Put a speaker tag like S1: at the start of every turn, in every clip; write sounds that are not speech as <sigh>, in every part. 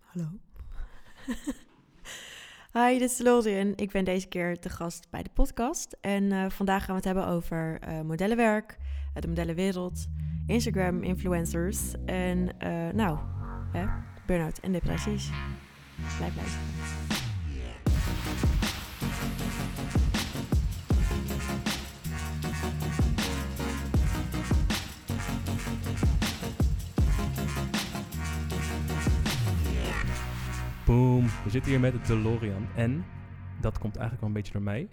S1: Hallo. <laughs> Hi, dit is Lolde en ik ben deze keer te gast bij de podcast. En eh, vandaag gaan we het hebben over eh, modellenwerk, eh, de modellenwereld, Instagram influencers en eh, nou, hè, burn-out en depressies. Blijf luisteren.
S2: Boom. We zitten hier met de DeLorean. En dat komt eigenlijk wel een beetje door mij.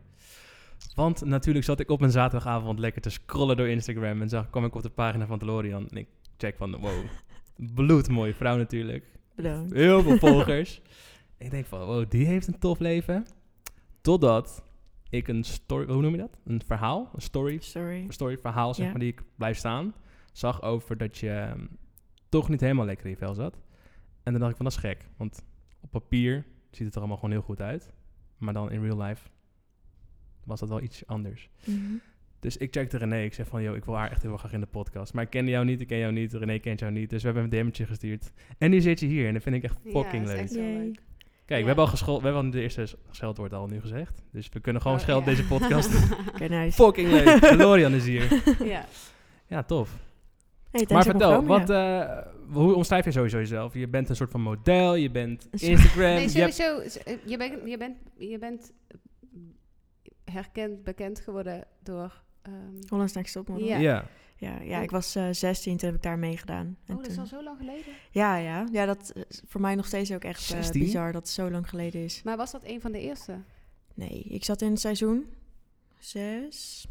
S2: Want natuurlijk zat ik op een zaterdagavond lekker te scrollen door Instagram. En zag, kwam ik op de pagina van DeLorean. En ik check van, wow, bloedmooie vrouw natuurlijk.
S1: Bedankt.
S2: Heel veel volgers. ik denk van, wow, die heeft een tof leven. Totdat ik een story, hoe noem je dat? Een verhaal, een story,
S1: Sorry.
S2: story verhaal zeg
S1: Ja.
S2: maar, die ik blijf staan. Zag over dat je ehm, toch niet helemaal lekker in je vel zat. En dan dacht ik van, dat is gek. Want op papier ziet het er allemaal gewoon heel goed uit. Maar dan in real life was dat wel iets anders.
S1: Mhm.
S2: Dus ik checkte René. Ik zei van, yo, ik wil haar echt heel graag in de podcast. Maar ik kende jou niet, ik ken jou niet. René kent jou niet. Dus we hebben een DM'tje gestuurd. En nu zit je hier. En dat vind ik echt fucking
S3: ja,
S2: leuk.
S3: is echt heel
S1: Yay.
S3: leuk.
S2: Kijk,
S3: Ja.
S2: we hebben al geschol, we hebben al de eerste scheldwoord al nu gezegd. Dus we kunnen gewoon
S3: Oh,
S2: schelden
S3: ja. <laughs>
S2: deze podcast.
S1: Oké, nice.
S2: Fucking leuk. DeLorean is hier.
S3: ja.
S2: Ja, tof.
S1: Hey, thanks
S2: maar
S1: voor
S2: vertel,
S1: komen, ja.
S2: wat, eh, hoe omschrijf je sowieso jezelf? Je bent een soort van model, je bent
S1: Een soort-
S2: Instagram.
S3: Nee,
S2: je hebt-
S3: sowieso. s- eh, Je bent, je bent, je bent herkend, bekend geworden door... ehm,
S1: Hollands Next Topmodel.
S3: Ja.
S2: ja.
S1: Ja, ja, ik was eh, 16 toen heb ik daar meegedaan. En
S3: oh, dat is
S1: toen-
S3: al zo lang geleden.
S1: Ja, ja. Ja, dat is voor mij nog steeds ook echt eh,
S2: 16?
S1: bizar dat het zo lang geleden is.
S3: Maar was dat een van de eerste?
S1: Nee, ik zat in seizoen 6.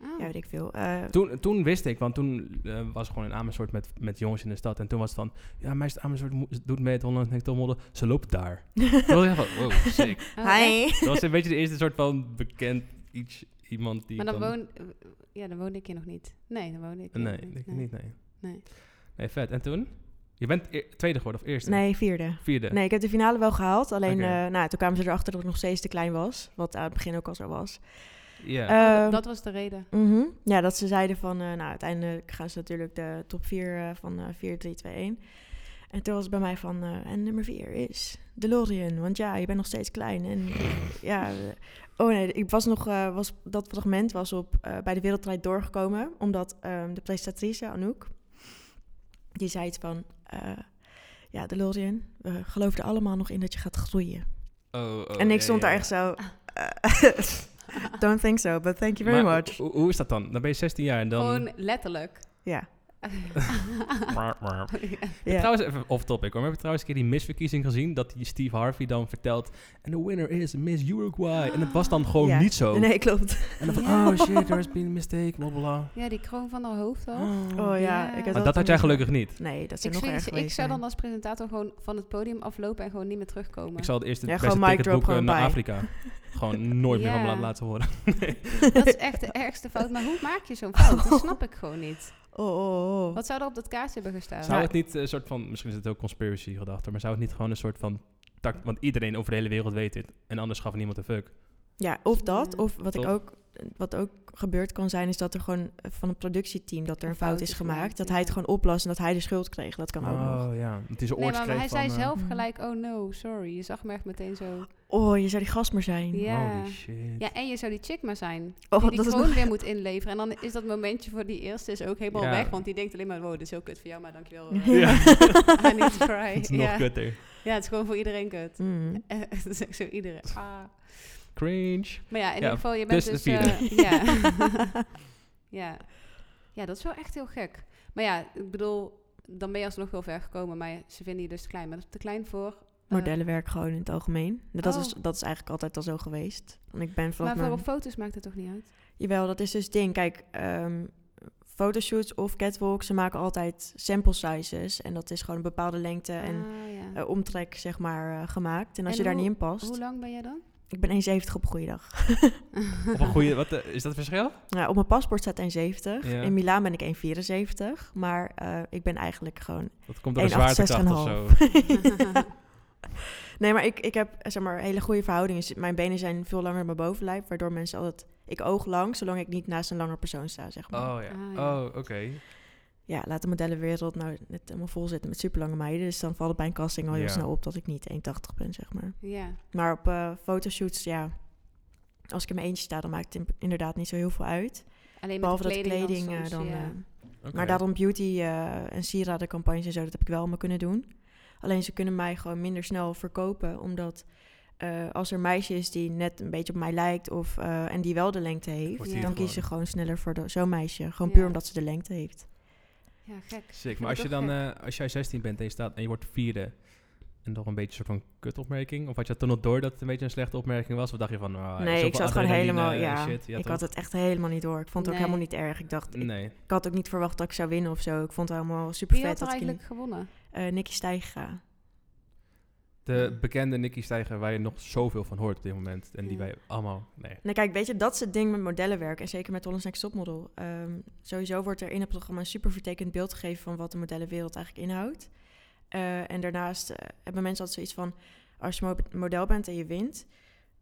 S3: Ah.
S1: Ja, weet ik veel.
S2: <laughs>
S1: Eh,
S2: Toen, toen wist ik, want toen eh, was gewoon in Amersfoort met, met jongens in de stad. En toen was het van, ja, meisje uit Amersfoort mo- doet mee het Hollands Next Topmodel. Ze loopt
S1: <laughs>
S2: daar. Toen was ik echt van, Oh, wow, sick.
S3: Oh, echt?
S1: Hi.
S2: Dat was een beetje de eerste soort van bekend iets, iemand die
S3: Maar dan,
S2: dan-
S3: woon, eh, ja, dan woonde ik hier nog niet. Nee, dan woonde ik hier
S2: Nee,
S3: nog
S2: denk ik niet, nee.
S3: Nee.
S2: Nee, vet. En toen? Je bent eer- tweede geworden of eerste?
S1: Nee, vierde.
S2: Vierde?
S1: Nee, ik heb de finale wel gehaald. Alleen
S2: Oké.
S1: eh, nou, toen kwamen ze erachter dat ik nog steeds te klein was. Wat aan het begin ook al zo was.
S2: Ja.
S3: Oh, dat-
S1: Ehm,
S3: dat was de reden.
S1: mhm. Ja, dat ze zeiden van... eh, nou, uiteindelijk gaan ze natuurlijk de top 4 van eh 4, 3, 2, 1. En toen was het bij mij van... eh, en nummer 4 is DeLorean. Want ja, je bent nog steeds klein. En ja... eh, Oh nee, ik was nog, eh, was, dat fragment was op, eh, bij de Wereldrijd doorgekomen. Omdat ehm, de presentatrice, Anouk, die zei het van... eh, ja, DeLorean, we geloofden allemaal nog in dat je gaat groeien.
S2: Oh, oh,
S1: en ik
S2: ja,
S1: stond
S2: ja,
S1: daar
S2: ja.
S1: echt zo... eh, <laughs> Don't think so, but thank you very
S2: Maar
S1: much.
S2: Hoe, hoe is dat dan? Dan ben je 16 jaar en dan...
S3: Gewoon
S2: <laughs>
S3: letterlijk.
S1: Ja.
S2: Maar- maar-
S1: Ja.
S2: Trouwens, even off-topic hoor. We hebben trouwens een keer die misverkiezing gezien... dat die Steve Harvey dan vertelt... en de winner is Miss Uruguay. En het was dan gewoon
S1: Ja.
S2: niet zo.
S1: Nee, klopt.
S2: En dan van,
S3: Ja.
S2: oh shit, there's been a mistake, bla bla bla.
S3: ja, die kroon van haar hoofd al.
S1: Oh ja,
S3: Ja.
S1: ik
S3: Maar
S2: Maar dat had jij gelukkig niet.
S1: Nee, dat
S3: Ik,
S1: zijn nog
S3: zweer
S1: erg
S3: het je, ik
S1: geweest.
S3: zou dan
S1: zijn.
S3: als presentator gewoon van het podium aflopen en gewoon niet meer terugkomen.
S2: Ik zal het eerste
S1: Ja,
S2: het
S1: gewoon
S2: beste
S1: mic
S2: ticket
S1: drop
S2: boeken
S1: gewoon
S2: naar
S1: bij.
S2: Afrika. Gewoon nooit meer van me
S3: Ja.
S2: laten- laten horen.
S3: Dat is echt de ergste fout. Maar hoe maak je zo'n fout? <laughs> Dat snap ik gewoon niet.
S1: Oh, oh, oh.
S3: Wat zou er op dat kaartje hebben gestaan?
S2: Zou het niet een soort van, misschien is het ook conspiracy gedachte, maar zou het niet gewoon een soort van tak, want iedereen over de hele wereld weet dit en anders gaf niemand een fuck.
S1: Ja, of dat, of wat, ik
S2: Top.
S1: ook, wat ook gebeurd kan zijn, is dat er gewoon eh, van het productieteam dat er een fout is gemaakt. Dat hij het
S3: ja.
S1: gewoon oplas en dat hij de schuld kreeg. Dat kan ook nog.
S2: Oh, ja, het is een
S3: Nee, maar
S2: oortskreet
S3: hij
S2: van,
S3: zei
S2: eh,
S3: zelf
S1: Mm.
S3: gelijk, oh no, sorry. Je zag me echt meteen zo.
S1: Oh, je zou die gast maar zijn.
S3: Ja.
S2: Holy shit.
S3: Ja, en je zou die chick maar zijn.
S1: Oh,
S3: die die
S1: dat is
S3: kroon
S1: nog...
S3: weer moet inleveren. En dan is dat momentje voor die eerste is ook helemaal
S2: Ja.
S3: weg. Want die denkt alleen maar, wow, dit is heel kut voor jou, maar
S1: <laughs>
S3: dankjewel. eh,
S2: Ja.
S3: <laughs> I need to cry.
S2: <laughs> Het is nog
S3: ja.
S2: kutter.
S3: ja, het is gewoon voor iedereen kut.
S1: Mm.
S3: Eh, <laughs> Het is echt zo iedereen. Ah.
S2: Cringe.
S3: Maar ja,
S2: Ja,
S3: in ieder geval, je bent
S2: dus
S3: dus...
S2: de
S3: eh,
S2: <laughs>
S3: ja. <laughs> ja. ja, dat is wel echt heel gek. Maar ja, ik bedoel, dan ben je alsnog heel ver gekomen. Maar ze vinden je dus te klein. Maar dat is te klein voor... eh,
S1: Modellenwerk gewoon in het algemeen. Dat,
S3: Oh.
S1: is, dus- dat is eigenlijk altijd al zo geweest. Want ik ben vanaf
S3: maar voor
S1: mijn-
S3: op foto's maakt het toch niet uit?
S1: Jawel, dat is dus het ding. Kijk, ehm, fotoshoots of catwalks, ze maken altijd sample sizes. En dat is gewoon een bepaalde lengte en
S3: Ah, ja.
S1: eh, omtrek, zeg maar, eh, gemaakt. En als
S3: En
S1: je daar
S3: hoe-
S1: niet in past...
S3: Hoe lang ben jij
S1: <laughs>
S3: dan?
S1: Ik ben 1,70 op goede dag.
S2: Of een goede, wat eh, is dat verschil?
S1: Nou, op mijn paspoort staat 1,70.
S2: Ja.
S1: In Milaan ben ik 1,74. Maar eh, ik ben eigenlijk gewoon...
S2: Dat komt door de
S1: 1,68 en
S2: zwaartekracht of zo.
S1: half. <laughs> Nee, maar ik, ik heb, eh, zeg maar, hele goede verhoudingen. Dus Mijn benen zijn veel langer dan mijn bovenlijf. Waardoor mensen altijd... Ik oog lang, zolang ik niet naast een langer persoon sta, zeg maar.
S2: Oh ja.
S3: Ah, ja.
S2: Oh, oké.
S1: ja, laat de modellenwereld nou net helemaal vol zitten met superlange meiden. Dus dan valt het bij een casting al heel
S2: Ja.
S1: snel op dat ik niet 1,80 ben, zeg maar.
S3: Ja.
S1: Maar op eh, fotoshoots, ja, als ik in mijn eentje sta, dan maakt het in- inderdaad niet zo heel veel uit.
S3: Alleen met
S1: Behalve
S3: de kleding,
S1: dat
S3: dan
S1: kleding eh,
S3: soms,
S1: dan...
S3: ja.
S1: eh,
S2: Oké.
S1: maar daarom beauty eh, en sieradencampagnes en zo, dat heb ik wel allemaal kunnen doen. Alleen ze kunnen mij gewoon minder snel verkopen, omdat eh, als er een meisje is die net een beetje op mij lijkt of, eh, en die wel de lengte heeft,
S2: Wordt
S3: Ja.
S2: hier
S1: dan
S2: gewoon-
S1: kiezen ze gewoon sneller voor de- zo'n meisje. Gewoon
S3: Ja.
S1: puur omdat ze de lengte heeft.
S3: ja, gek.
S2: Sick.
S3: Ik
S2: Maar als je
S3: vind
S2: dan,
S3: het wel
S2: eh, als jij 16 bent en je staat en je wordt vierde en toch een beetje een soort van kutopmerking, of had je toen nog door dat het een beetje een slechte opmerking was, of dacht je van, oh,
S1: nee, ik zat gewoon helemaal,
S2: eh,
S1: ja, ik had
S2: het.
S1: het echt helemaal niet door. Ik vond het ook
S3: Nee.
S1: helemaal niet erg. Ik dacht, ik,
S2: Nee,
S1: ik had ook niet verwacht dat ik zou winnen of zo. Ik vond het helemaal super
S3: Wie
S1: vet
S3: had er
S1: dat ik
S3: eigenlijk
S1: in,
S3: gewonnen?
S1: eh Nicky Stijga.
S2: de bekende Nicky Steiger waar je nog zoveel van hoort op dit moment en die
S3: Ja.
S2: wij allemaal, nee.
S1: Nou kijk, weet je, dat is het ding met modellenwerk. En zeker met Holland's Next Topmodel. Ehm, sowieso wordt er in het programma een super vertekend beeld gegeven... van wat de modellenwereld eigenlijk inhoudt. Eh, en daarnaast eh, hebben mensen altijd zoiets van... als je mo- model bent en je wint...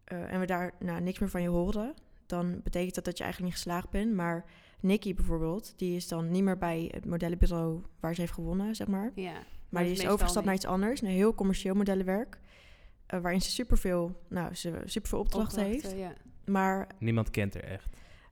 S1: eh, en we daar nou, niks meer van je horen... dan betekent dat dat je eigenlijk niet geslaagd bent. Maar Nikki bijvoorbeeld, die is dan niet meer bij het modellenbureau... waar ze heeft gewonnen, zeg maar.
S3: Ja.
S1: Maar die
S3: dat
S1: is
S3: meestal
S1: overgestapt
S3: niet.
S1: naar iets anders. Een heel commercieel modellenwerk... eh, waarin ze superveel, nou, ze superveel opdrachten heeft.
S3: Opdrachten, Ja.
S1: Maar
S2: Niemand kent er echt.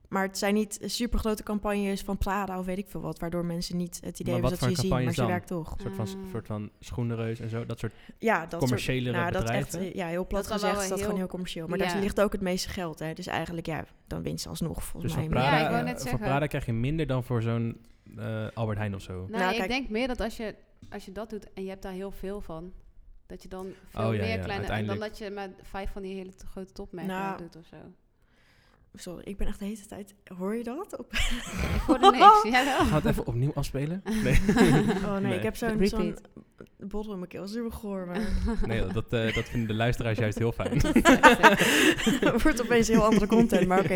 S1: maar het zijn niet super grote campagnes van Prada of weet ik veel wat, waardoor mensen niet het idee hebben
S2: Maar wat
S1: dat ze
S2: voor
S1: je zien, maar
S2: campagnes
S1: ze
S2: dan?
S1: werkt toch.
S2: Een soort van,
S3: Ah.
S2: soort van schoenenreus en zo, dat soort
S1: Ja, dat soort,
S2: commerciële
S1: nou, dat
S2: bedrijven.
S1: echt, eh, ja, heel plat
S3: Dat kan wel
S1: gezegd is dat
S3: heel-
S1: gewoon heel commercieel. Maar
S3: Ja.
S1: daar ligt ook het meeste geld, hè. Dus eigenlijk, ja, dan wint ze alsnog
S2: dus
S1: volgens
S2: voor
S1: mij.
S3: Ja,
S2: Prada,
S3: ik wou
S2: eh,
S3: net
S2: voor
S3: zeggen.
S2: Prada krijg je minder dan voor zo'n eh, Albert Heijn of zo.
S3: Nou,
S1: Nou,
S3: ik
S1: kijk-
S3: denk meer dat als je, als je dat doet en je hebt daar heel veel van, dat je dan veel
S2: Oh, ja,
S3: meer
S2: ja,
S3: kleine... En dan
S2: uiteindelijk.
S3: dat je maar vijf van die hele t- grote topmerken
S1: Nou.
S3: doet of zo.
S1: Sorry, ik ben echt de hele tijd... Hoor je dat? Op-
S3: Ik hoorde
S1: <laughs>
S3: niks, jij wel?
S2: Gaan we het even opnieuw afspelen? Nee,
S1: Oh nee,
S2: Nee.
S1: ik heb zo'n
S3: Repeat.
S1: zo'n bottle in mijn keel. Super goor, maar
S2: nee dat, eh, dat vinden de luisteraars juist heel
S1: <laughs>
S2: fijn.
S1: het wordt opeens heel andere content, maar oké.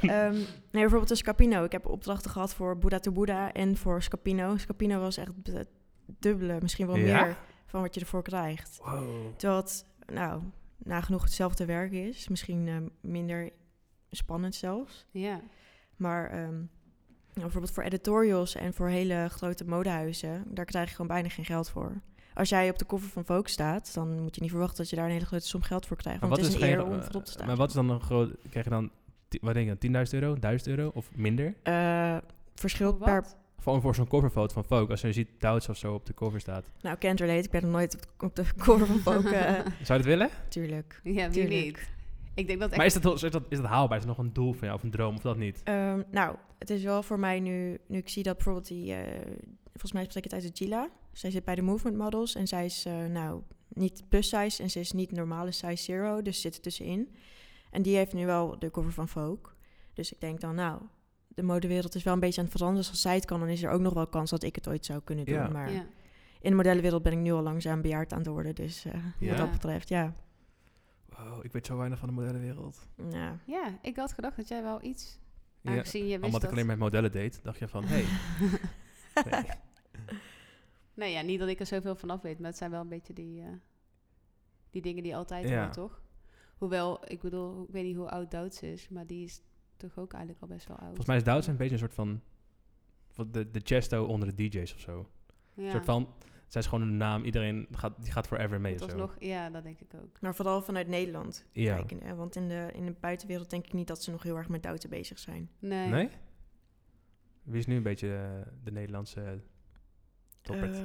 S1: Ehm, nee, bijvoorbeeld een Scapino. Ik heb opdrachten gehad voor Buddha to Buddha en voor Scapino. Scapino was echt het dubbele, misschien wel
S2: Ja?
S1: meer, van wat je ervoor krijgt.
S2: Wow.
S1: Terwijl het, nou, nagenoeg hetzelfde werk is. Misschien eh, minder spannend zelfs.
S3: Ja.
S1: Maar ehm, nou, bijvoorbeeld voor editorials en voor hele grote modehuizen, daar krijg je gewoon bijna geen geld voor. Als jij op de koffer van Vogue staat, dan moet je niet verwachten dat je daar een hele grote som geld voor krijgt.
S2: Maar
S1: Want
S2: wat
S1: het
S2: is
S1: is een eer
S2: geen,
S1: om
S2: eh,
S1: voorop te staan.
S2: Maar wat is dan een groot... Krijg je dan, ti- wat denk je dan, 10.000 euro, 1000 euro of minder?
S1: Eh, verschil
S3: Voor
S1: per
S3: wat?
S2: Gewoon voor zo'n coverfoto van Vogue, als je ziet Duits of zo op de cover staat.
S1: Nou, can't relate. Ik ben nog nooit op de, op de cover van Vogue.
S3: <laughs>
S1: eh,
S2: Zou je dat willen?
S1: tuurlijk.
S3: Ja, wie
S1: Tuurlijk.
S3: niet? Ik denk dat echt...
S2: Maar is dat, is, dat, is dat haalbaar? Is dat nog een doel van jou of een droom of dat niet?
S1: Ehm, nou, het is wel voor mij nu... Nu ik zie dat bijvoorbeeld die... eh, volgens mij spreek ik het uit de Gila. Zij zit bij de Movement Models. En zij is, eh, nou, niet plus size. En ze is niet normale size zero. Dus zit er tussenin. En die heeft nu wel de cover van Vogue. Dus ik denk dan, nou... De modewereld is wel een beetje aan het veranderen. Dus als zij het kan, dan is er ook nog wel kans dat ik het ooit zou kunnen doen.
S2: Ja.
S1: Maar
S3: Ja.
S1: in de modellenwereld ben ik nu al langzaam bejaard aan het worden. Dus eh,
S2: Ja.
S1: wat dat betreft, ja.
S2: Wow, ik weet zo weinig van de modellenwereld.
S1: ja.
S3: ja, ik had gedacht dat jij wel iets...
S2: Ja,
S3: Aangezien je wist
S2: omdat ik alleen
S3: dat...
S2: met modellen deed, dacht je van, hey. Nee.
S3: <laughs> Nee, ja, niet dat ik er zoveel van af weet, maar het zijn wel een beetje die, eh, die dingen die je altijd
S2: Ja.
S3: hoort, toch? Hoewel, ik bedoel, ik weet niet hoe oud Douds is, maar die is toch ook eigenlijk al best wel oud.
S2: Volgens mij is Duits een beetje een soort van... van De, de Chesto onder de DJ's of zo.
S3: ja.
S2: Een soort van... Zij is gewoon een naam, iedereen gaat, die gaat forever mee.
S3: Dat
S2: of
S3: was
S2: zo.
S3: nog, ja, dat denk ik ook.
S1: <laughs> Maar vooral vanuit Nederland
S2: Ja.
S1: kijken. hè, Want in de, in de buitenwereld denk ik niet dat ze nog heel erg met Doughten bezig zijn.
S3: Nee.
S2: Nee? Wie is nu een beetje eh, de Nederlandse eh, toppert?
S1: Eh,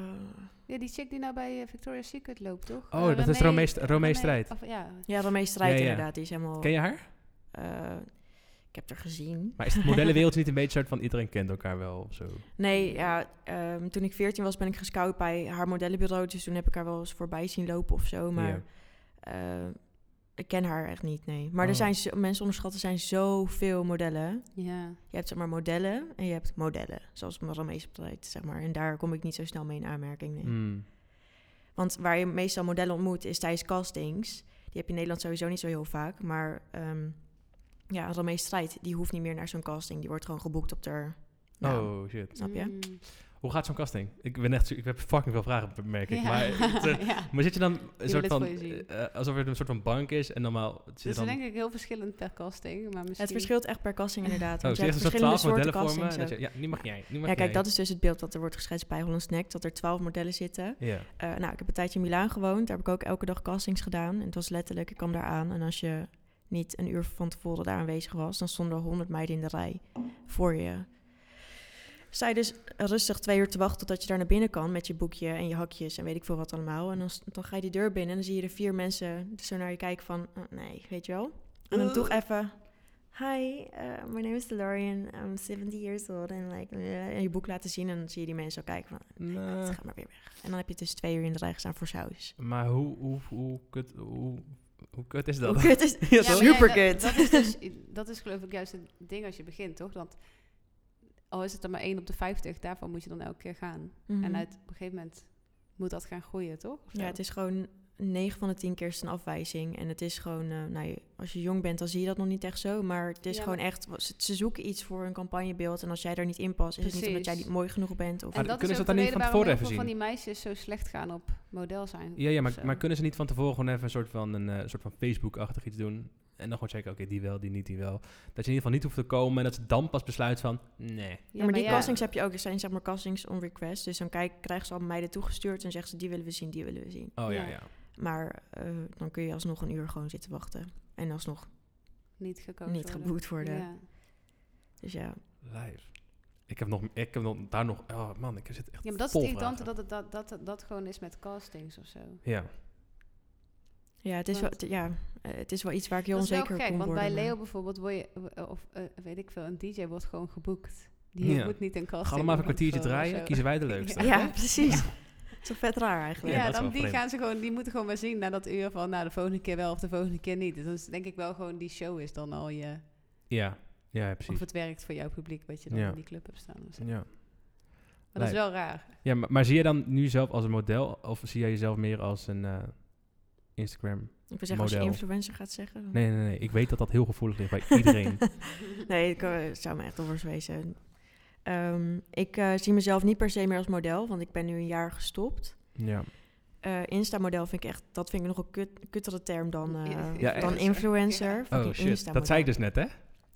S3: Ja, die chick die nou bij eh, Victoria's Secret loopt, toch?
S2: oh,
S3: Eh,
S2: dat is
S3: Romee- Oh.
S2: Romee, St- Romee Strijd.
S3: of- ja.
S1: ja, Romee Strijd
S2: Ja, ja.
S1: inderdaad. Die is helemaal...
S2: Ken je haar?
S1: eh, ik heb er gezien.
S2: Maar is het modellenwereld niet een beetje soort van iedereen kent elkaar wel of zo?
S1: Nee, ja, ehm, toen ik 14 was ben ik gescout bij haar modellenbureau. Dus toen heb ik haar wel eens voorbij zien lopen of zo. Maar
S2: Ja.
S1: eh, ik ken haar echt niet, nee. Maar
S2: Oh.
S1: er zijn, zo- mensen onderschatten, er zijn zoveel modellen.
S3: Ja.
S1: Je hebt zeg maar modellen en je hebt modellen. Zoals Romee Strijd, zeg maar. En daar kom ik niet zo snel mee in aanmerking, nee.
S2: Hmm.
S1: Want waar je meestal modellen ontmoet is tijdens castings. Die heb je in Nederland sowieso niet zo heel vaak. Maar ehm ja, Romee Strijd, die hoeft niet meer naar zo'n casting. Die wordt gewoon geboekt op haar... nou,
S2: oh, shit.
S1: Snap je?
S3: Mm.
S2: Hoe gaat zo'n casting? Ik ben echt, ik heb fucking veel vragen, merk ik. Maar,
S3: <laughs>
S2: <laughs> het, eh,
S3: ja.
S2: maar zit je dan een
S3: wil
S2: soort
S3: het
S2: van,
S3: voor je zien.
S2: eh, alsof het een soort van bank is en normaal zit je
S3: Dus
S2: dan...
S3: denk ik heel verschillend per casting. Maar misschien...
S1: Het verschilt echt per <laughs> kassing inderdaad.
S2: oh,
S1: Want
S2: ze
S1: je hebt
S2: zeggen zo'n
S1: verschillende
S2: 12
S1: soorten
S2: modellen voor me.
S1: kassings.
S2: en dat je- ja, nu mag jij. Nu mag
S1: Ja,
S2: jij.
S1: kijk, dat is dus het beeld dat er wordt geschetst bij Holland's Next. Dat er 12 modellen zitten.
S2: Ja.
S1: Eh, nou, ik heb een tijdje in Milaan gewoond. Daar heb ik ook elke dag castings gedaan. En het was letterlijk, ik kwam daar aan. En als je niet een uur van tevoren daar aanwezig was, dan stonden er 100 meiden in de rij voor je. Zij dus rustig twee uur te wachten totdat je daar naar binnen kan met je boekje en je hakjes en weet ik veel wat allemaal. En dan, s- dan ga je die deur binnen en dan zie je er vier mensen dus zo naar je kijken van, eh, nee, weet je wel. En dan toch even, hi, eh, my name is DeLorean, I'm 70 years old. En like, eh, en je boek laten zien en dan zie je die mensen al kijken van,
S2: Nou,
S3: Eh.
S1: het gaat maar weer weg. En dan heb je dus twee uur in de rij gestaan voor saus.
S2: maar hoe, hoe, hoe, kut, hoe, hoe kut is dat?
S1: Hoe Oh, kut is
S2: Ja,
S3: maar
S2: toch?
S1: Super
S3: <laughs> ja,
S1: kut.
S3: dat, dat, <laughs> is dus, dat is geloof ik juist het ding als je begint, toch? Dat, al is het dan maar 1 op de 50, daarvan moet je dan elke keer gaan.
S1: Mhm.
S3: En uit, op een gegeven moment moet dat gaan groeien, toch? Of
S1: Ja,
S3: zo?
S1: het is gewoon 9 van de 10 keer is het een afwijzing. En het is gewoon, eh, nou, je- als je jong bent, dan zie je dat nog niet echt zo. Maar het is
S3: Ja,
S1: gewoon echt, ze- ze zoeken iets voor een campagnebeeld. En als jij daar niet in past, is het niet
S3: Precies.
S1: omdat jij niet mooi genoeg bent. Of,
S2: Maar dan
S3: En dat
S2: kunnen
S3: is
S2: ze
S3: ook
S2: dat
S3: de
S2: dan niet
S3: reden
S2: van
S3: waarom
S2: tevoren
S3: heel
S2: even
S3: veel van
S2: zien?
S3: die meisjes zo slecht gaan op model zijn.
S2: <laughs> Ja, ja maar,
S3: of zo.
S2: maar kunnen ze niet van tevoren gewoon even een soort van, een, eh, soort van Facebook-achtig iets doen? En dan gewoon checken, oké, die wel, die niet, die wel. Dat je in ieder geval niet hoeft te komen en dat ze dan pas besluit van, nee.
S1: ja, maar die
S3: ja,
S1: castings heb je ook. Er zijn zeg maar castings on request. Dus dan kijk, krijgen ze al meiden toegestuurd en zeggen ze, die willen we zien, die willen we zien.
S2: Oh ja, ja.
S3: Ja.
S1: Maar eh, dan kun je alsnog een uur gewoon zitten wachten. En alsnog
S3: niet gekozen
S1: niet
S3: worden.
S1: geboekt worden.
S3: Ja.
S1: Dus ja.
S2: Live. Ik heb, nog, ik heb nog, daar nog, oh man, ik zit echt
S3: Ja, maar dat is
S2: vol
S3: het irritante
S2: vragen.
S3: dat, het, dat, dat dat gewoon is met castings of zo.
S2: Ja.
S1: Ja, het is, wel,
S3: Want-
S1: t- ja, eh, het is wel iets waar ik heel
S3: dat is wel
S1: onzeker
S3: gek,
S1: kon
S3: want
S1: worden.
S3: bij
S1: maar-
S3: Leo bijvoorbeeld word je, eh, of eh, weet ik veel, een DJ wordt gewoon geboekt. Die
S2: Ja.
S3: moet niet een casting.
S2: Ga allemaal even een
S3: doen of
S2: kwartiertje
S3: zo, of
S2: draaien,
S3: zo.
S2: kiezen
S1: <laughs>
S2: wij de leukste.
S1: <laughs> Ja, precies. Het is wel vet raar eigenlijk.
S3: Ja,
S2: Ja, dat is
S3: dan
S2: wel
S3: die
S2: vreemd.
S3: gaan ze gewoon, die moeten gewoon maar zien na dat uur van, nou de volgende keer wel of de volgende keer niet. Dus dat is denk ik wel gewoon die show is dan al je,
S2: Ja, ja,
S3: of
S2: precies.
S3: het werkt voor jouw publiek wat je dan
S2: Ja.
S3: in die club hebt staan. of zo.
S2: Ja.
S3: Maar dat is wel raar.
S2: Ja, maar, maar zie je dan nu zelf als een model of zie jij jezelf meer als een eh, Instagram?
S1: Ik wil zeggen, als je
S2: Model.
S1: influencer gaat zeggen. dan-
S2: Nee, nee, nee. Ik weet dat dat heel gevoelig ligt bij iedereen.
S1: <laughs>
S2: <laughs>
S1: nee, ik, eh, het zou me echt onwers wezen. Ehm, ik eh, zie mezelf niet per se meer als model, want ik ben nu een jaar gestopt.
S2: ja.
S1: Eh, Insta-model vind ik echt, dat vind ik nog een kut, kuttere term dan, eh,
S3: Ja,
S2: echt.
S1: dan influencer.
S3: Ja.
S1: Fucking
S2: Oh shit,
S1: Insta-model.
S2: dat zei ik dus net, hè?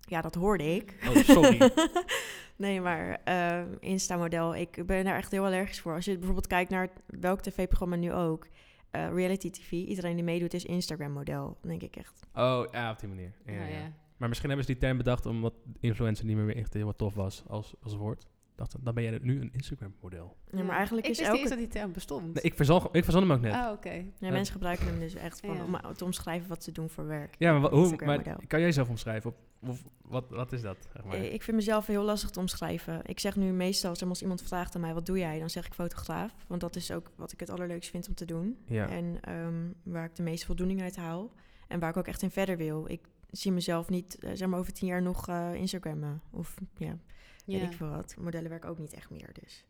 S1: Ja, dat hoorde ik.
S2: Oh, sorry.
S1: <laughs> nee, maar ehm, Insta-model, ik ben daar echt heel allergisch voor. Als je bijvoorbeeld kijkt naar welk tv-programma nu ook, eh, reality tv, iedereen die meedoet is Instagram-model. Dan denk ik echt,
S2: <laughs> Oh, ja, op die manier. Ja,
S3: Nou
S2: ja.
S3: ja.
S2: Maar misschien hebben ze die term bedacht omdat influencer niet meer echt heel wat tof was als, als woord. Dacht, dan ben jij nu een Instagram-model.
S1: Ja, maar eigenlijk
S3: ik
S1: is
S3: wist
S1: elke...
S3: niet eens dat die term bestond.
S2: Nee, ik verzon, ik verzon hem ook net.
S3: Ah, oké.
S1: Ja,
S2: Ja.
S1: mensen gebruiken hem dus echt van,
S3: Ja.
S1: om te omschrijven wat ze doen voor werk.
S2: Ja, maar, wa- hoe,
S1: Instagram-model.
S2: maar kan jij zelf omschrijven? Of, of wat, wat is dat? Zeg maar?
S1: Eh, Ik vind mezelf heel lastig te omschrijven. Ik zeg nu meestal, zeg maar, als iemand vraagt aan mij, wat doe jij? Dan zeg ik fotograaf, want dat is ook wat ik het allerleukst vind om te doen.
S2: Ja.
S1: En ehm, waar ik de meeste voldoening uit haal. En waar ik ook echt in verder wil. Ik zie mezelf niet, eh, zeg maar, over tien jaar nog eh, Instagrammen. Of ja, weet ik veel wat. Modellen werken ook niet echt meer, dus.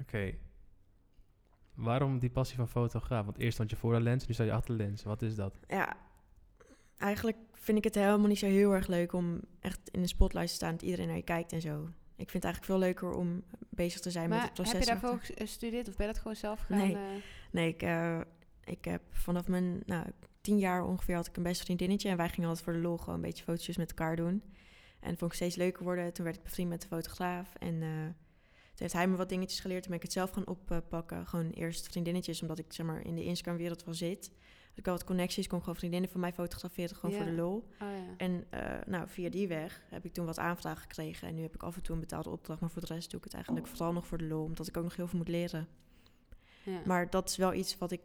S2: Oké. Waarom die passie van fotograaf? Want eerst stond je voor de lens, nu sta je achter de lens. Wat is dat?
S1: Ja, eigenlijk vind ik het helemaal niet zo heel erg leuk om echt in de spotlight te staan, dat iedereen naar je kijkt en zo. Ik vind het eigenlijk veel leuker om bezig te zijn
S3: Maar
S1: met het proces.
S3: heb je daarvoor
S1: achter.
S3: gestudeerd of ben je dat gewoon zelf gaan?
S1: Nee.
S3: eh,
S1: Nee, ik, eh, ik heb vanaf mijn nou, tien jaar ongeveer had ik een beste vriendinnetje en wij gingen altijd voor de lol gewoon een beetje fotootjes met elkaar doen. En dat vond ik steeds leuker worden. Toen werd ik bevriend met de fotograaf en eh, toen heeft hij me wat dingetjes geleerd. Toen ben ik het zelf gaan oppakken. Gewoon eerst vriendinnetjes, omdat ik zeg maar in de Instagram-wereld wel zit. Dus ik had wat connecties, kon gewoon vriendinnen van mij fotograferen, gewoon
S3: Ja.
S1: voor de lol.
S3: oh, ja.
S1: En eh, nou, via die weg heb ik toen wat aanvragen gekregen. En nu heb ik af en toe een betaalde opdracht. Maar voor de rest doe ik het eigenlijk vooral nog voor de lol. Omdat ik ook nog heel veel moet leren.
S3: Ja.
S1: Maar dat is wel iets wat ik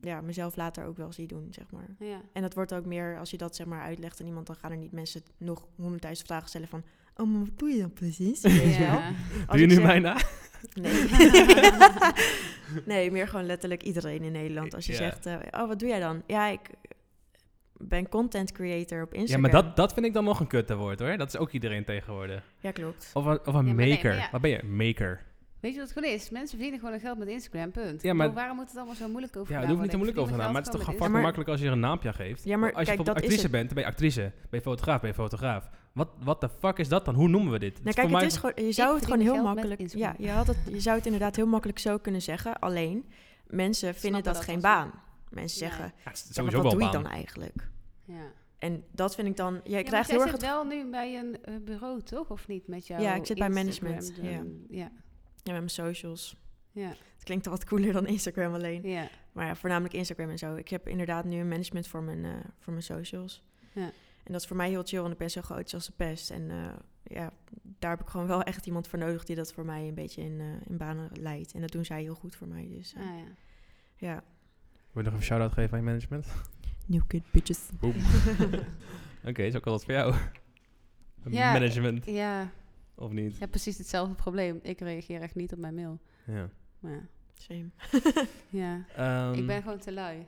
S1: ja, mezelf later ook wel zie doen, zeg maar.
S3: ja.
S1: En dat wordt ook meer, als je dat zeg maar uitlegt aan iemand... dan gaan er niet mensen nog honderdduizend vragen stellen van... Oh, maar wat doe je dan precies? Weet je wel?
S3: <laughs> Ja.
S1: Als
S2: Doe je
S1: ik
S2: nu
S1: zeg-
S2: mij na? <laughs>
S1: Nee. nee, meer gewoon letterlijk iedereen in Nederland. Als je
S2: Ja.
S1: zegt, eh, oh, wat doe jij dan? Ja, ik ben content creator op
S2: Ja,
S1: Instagram.
S2: maar dat, dat vind ik dan nog een kutte woord hoor. Dat is ook iedereen tegenwoordig.
S1: Ja, klopt.
S2: Of, een- of een
S3: Ja, maar nee,
S2: maker.
S3: maar ja.
S2: Wat ben je? Een Maker.
S3: Weet je wat het gewoon is? Mensen verdienen gewoon hun geld met Instagram, punt.
S2: Ja,
S3: Ik
S2: maar-
S3: bedoel, waarom moet het allemaal zo moeilijk over
S2: Ja, daar
S3: gedaan
S1: nou
S2: hoef niet te moeilijk over te gaan.
S3: worden?
S2: Maar
S3: Ik
S2: het is toch
S3: verdien
S1: Ja, maar-
S2: fucking
S3: mijn geld
S2: makkelijk als je er een naampje geeft.
S1: Ja, maar
S2: als je
S1: kijk,
S2: bijvoorbeeld
S1: dat is
S2: actrice bent, dan ben je actrice. Ben je fotograaf, ben je fotograaf. Wat what the fuck is dat dan? Hoe noemen we dit? Het
S1: Nou,
S2: is
S1: kijk,
S2: voor
S1: het
S2: mij-
S1: is gewoon, je zou het gewoon
S3: verdien
S1: heel
S3: geld met
S1: makkelijk.
S3: inspanning.
S1: Ja, je, had het, je zou het inderdaad heel makkelijk zo kunnen zeggen. Alleen, mensen vinden
S3: Snappen
S1: dat,
S3: dat
S1: geen
S3: als-
S1: baan. Mensen
S3: Ja.
S1: zeggen,
S2: Ja, het is
S1: ja, maar wat
S2: sowieso wel
S1: doe je
S2: baan.
S1: dan eigenlijk?
S3: Ja.
S1: En dat vind ik dan... Jij
S3: Ja,
S1: krijgt
S3: want
S1: heel
S3: jij
S1: erg
S3: zit
S1: het...
S3: wel nu bij een eh, bureau, toch? Of niet? Met jou?
S1: Ja, ik zit bij management,
S3: Ja.
S1: Ja, met mijn socials.
S3: Ja.
S1: Het klinkt al wat cooler dan Instagram alleen.
S3: ja.
S1: Maar ja, voornamelijk Instagram en zo. Ik heb inderdaad nu een management voor mijn, eh, voor mijn socials.
S3: Ja.
S1: En dat is voor mij heel chill, want ik ben zo groot als de pest. En eh, ja, daar heb ik gewoon wel echt iemand voor nodig die dat voor mij een beetje in, eh, in banen leidt. En dat doen zij heel goed voor mij. Dus eh,
S3: Ah, ja.
S1: ja,
S2: Wil je nog een shout-out geven aan
S1: <laughs>
S2: je management?
S1: new kid bitches. <laughs>
S2: Boom. Oké, is ook wel wat voor jou. Een
S3: Ja,
S2: management,
S3: Ja,
S2: of niet?
S3: ja, precies hetzelfde probleem. Ik reageer echt niet op mijn mail.
S2: Ja.
S3: Maar,
S1: Same.
S3: ja,
S2: Ehm,
S3: ik ben gewoon te lui.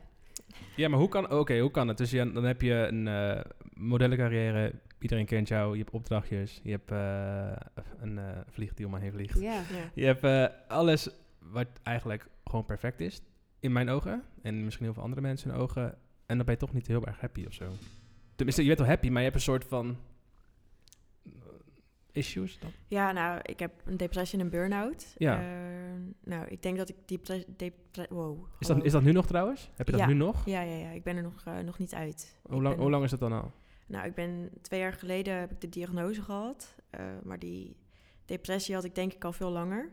S2: Ja, maar hoe kan, oké, hoe kan het? Dus je, dan heb je een eh, modellencarrière, iedereen kent jou, je hebt opdrachtjes, je hebt eh, een eh, vlieg die om mij heen vliegt.
S3: Ja,
S1: Ja.
S2: Je hebt eh, alles wat eigenlijk gewoon perfect is, in mijn ogen. En misschien heel veel andere mensen hun ogen. En dan ben je toch niet heel erg happy of zo. Tenminste, je bent wel happy, maar je hebt een soort van... eh, Issues dan?
S1: ja, nou, ik heb een depressie en een burn-out.
S2: Ja.
S1: Eh, nou, ik denk dat ik die... depre- depre- wow.
S2: Is dat,
S1: hallo.
S2: is dat nu nog trouwens? Heb je dat
S1: Oh. Ja.
S2: nu nog?
S1: Ja, ja, ja. Ik ben er nog, eh, nog niet uit.
S2: Hoe
S1: Ik
S2: lang,
S1: ben-
S2: hoe lang is dat dan al?
S1: Nou, ik ben twee jaar geleden heb ik de diagnose gehad. eh, maar die depressie had ik denk ik al veel langer.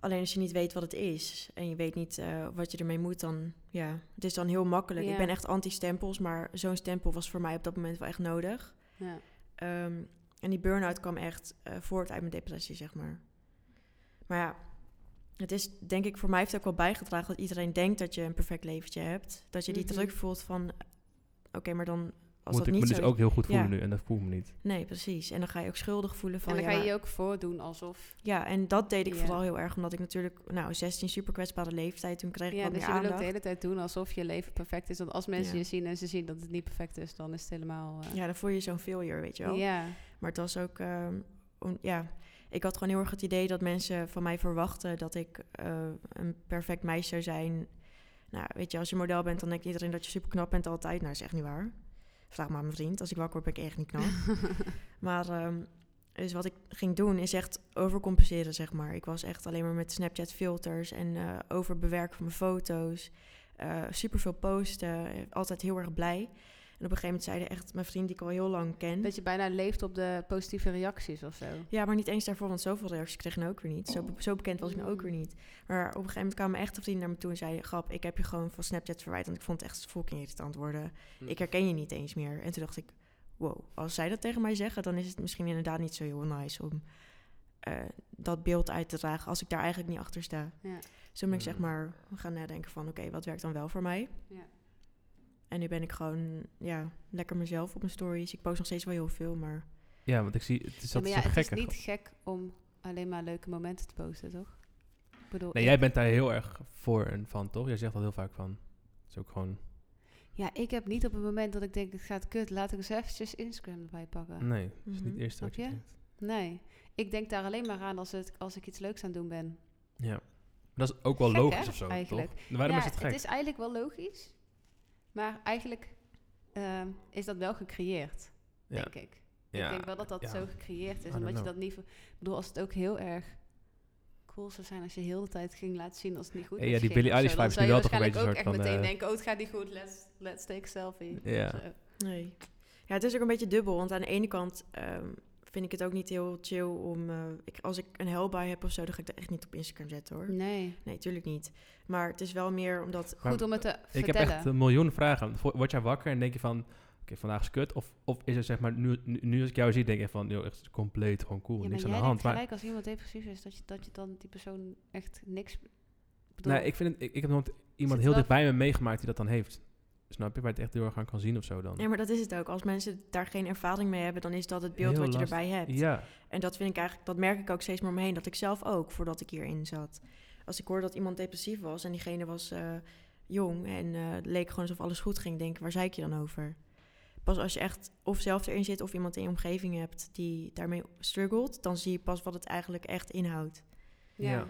S1: Alleen als je niet weet wat het is en je weet niet eh, wat je ermee moet, dan ja, het is dan heel makkelijk.
S3: Ja.
S1: Ik ben echt anti-stempels, maar zo'n stempel was voor mij op dat moment wel echt nodig.
S3: ja.
S1: Ehm, en die burn-out kwam echt eh, voort uit mijn depressie, zeg maar. Maar ja, het is denk ik voor mij heeft het ook wel bijgedragen dat iedereen denkt dat je een perfect leventje hebt. Dat je die
S3: Mhm.
S1: druk voelt van, eh, oké, maar dan als
S2: Moet
S1: dat
S2: ik
S1: niet zo
S2: me dus ook heel goed voelen
S1: Ja.
S2: nu en dat voel ik me niet.
S1: Nee, precies. En dan ga je ook schuldig voelen van
S3: En dan
S1: ja,
S3: ga je
S1: maar-
S3: je ook voordoen alsof...
S1: ja, en dat deed ik
S3: Ja.
S1: vooral heel erg, omdat ik natuurlijk, nou, 16 super kwetsbare leeftijd, toen kreeg ik
S3: Ja,
S1: wat
S3: dus je
S1: meer
S3: wil ook de
S1: aandacht.
S3: hele tijd doen alsof je leven perfect is. Want als mensen
S1: Ja.
S3: je zien en ze zien dat het niet perfect is, dan is het helemaal... eh,
S1: Ja, dan voel je zo'n failure, weet je wel.
S3: ja.
S1: Maar het was ook, ehm, om- ja, ik had gewoon heel erg het idee dat mensen van mij verwachten dat ik eh, een perfect meisje zou zijn. Nou, weet je, als je model bent, dan denkt iedereen dat je super knap bent altijd. Nou, dat is echt niet waar. Vraag maar aan mijn vriend. Als ik wakker word, ben ik echt niet knap. maar ehm, dus wat ik ging doen, is echt overcompenseren, zeg maar. Ik was echt alleen maar met Snapchat filters en eh, overbewerken van mijn foto's. eh super veel posten. eh, Altijd heel erg blij. En op een gegeven moment zeiden echt mijn vriend, die ik al heel lang ken.
S3: Dat je bijna leeft op de positieve reacties of zo.
S1: Ja, maar niet eens daarvoor, want zoveel reacties kreeg ik nou ook weer niet.
S3: Oh.
S1: Zo, zo bekend was ik nou ook
S3: Mm.
S1: weer niet. Maar op een gegeven moment kwamen echt vrienden naar me toe en zeiden... Grap, ik heb je gewoon van Snapchat verwijderd, want ik vond het echt fucking irritant worden.
S3: Hm.
S2: Mm.
S1: Ik herken je niet eens meer. En toen dacht ik, wow, als zij dat tegen mij zeggen... dan is het misschien inderdaad niet zo heel nice om eh, dat beeld uit te dragen... als ik daar eigenlijk niet achter sta.
S3: Ja.
S1: Zo ben ik zeg
S2: Mm.
S1: maar gaan nadenken van, oké, wat werkt dan wel voor mij?
S3: Ja.
S1: En nu ben ik gewoon, ja, lekker mezelf op mijn stories. Ik post nog steeds wel heel veel, maar...
S2: Ja, want ik zie, het is
S3: Ja, maar
S2: altijd
S3: ja,
S2: zo
S3: het is
S2: gekker.
S3: niet gek om alleen maar leuke momenten te posten, toch? Ik bedoel,
S2: Nee,
S3: ik-
S2: jij bent daar heel erg voor en van, toch? Jij zegt dat heel vaak van. Het is ook gewoon...
S3: Ja, ik heb niet op het moment dat ik denk, het gaat kut, laat ik eens eventjes Instagram erbij pakken.
S2: Nee, dat is niet
S1: Mhm.
S2: het eerste wat je
S3: Snap je?
S2: denkt.
S3: Nee, ik denk daar alleen maar aan als, het, als ik iets leuks aan het doen ben.
S2: Ja. Dat is ook wel
S3: Gek,
S2: logisch
S3: hè,
S2: of zo,
S3: eigenlijk.
S2: toch? Waarom
S3: ja,
S2: is het gek?
S3: is eigenlijk wel logisch, maar eigenlijk ehm, is dat wel gecreëerd,
S2: ja.
S3: denk ik.
S2: ja.
S3: Ik denk wel dat dat
S2: ja.
S3: zo gecreëerd
S2: I
S3: is,
S2: don't
S3: omdat je
S2: know.
S3: dat niet... ver- Ik bedoel, als het ook heel erg cool zou zijn als je heel de tijd ging laten zien als het niet goed
S2: Ja,
S3: is.
S2: die
S3: ging
S2: Billie
S3: of zo,
S2: Eilish vibe
S3: dan
S2: is
S3: zou
S2: nu wel
S3: je
S2: toch een
S3: waarschijnlijk
S2: beetje
S3: ook echt
S2: een soort van,
S3: meteen
S2: eh,
S3: denken, oh, het gaat niet goed, let's, let's take a selfie.
S2: Ja.
S3: Zo.
S1: Nee. Ja, het is ook een beetje dubbel. Want aan de ene kant ehm, vind ik het ook niet heel chill om... eh, ik, als ik een helbui heb of zo, dan ga ik dat echt niet op Instagram zetten, hoor.
S3: Nee,
S1: Nee, tuurlijk niet. Maar het is wel meer omdat...
S2: Maar
S3: goed om het te
S2: Ik heb
S3: vertellen.
S2: echt een miljoen vragen. Vo- Word jij wakker en denk je van... Oké, vandaag is kut. Of, of is het zeg maar... Nu, nu, nu als ik jou zie, denk ik van... Joh, echt compleet gewoon cool.
S3: Ja, maar
S2: niks aan
S3: jij
S2: de hand.
S3: denkt
S2: Maar
S3: gelijk als iemand depressief is, dat je, dat je dan die persoon echt niks... bedoelt.
S2: nee, Nou, ik, vind het, ik, ik heb nog iemand
S3: het
S2: heel
S3: wel-
S2: dichtbij me meegemaakt die dat dan heeft. Snap je? Waar je het echt heel erg aan kan zien of zo dan.
S1: Nee, maar dat is het ook. Als mensen daar geen ervaring mee hebben, dan is dat het beeld
S2: Heel
S1: wat je
S2: lastig.
S1: erbij hebt.
S2: Ja.
S1: En dat vind ik eigenlijk, dat merk ik ook steeds meer om me heen. Dat ik zelf ook, voordat ik hierin zat. Als ik hoorde dat iemand depressief was en diegene was eh, jong en eh, het leek gewoon alsof alles goed ging, denk ik, waar zei ik je dan over? Pas als je echt of zelf erin zit of iemand in je omgeving hebt die daarmee struggelt, dan zie je pas wat het eigenlijk echt inhoudt.
S3: Ja.
S2: Ja.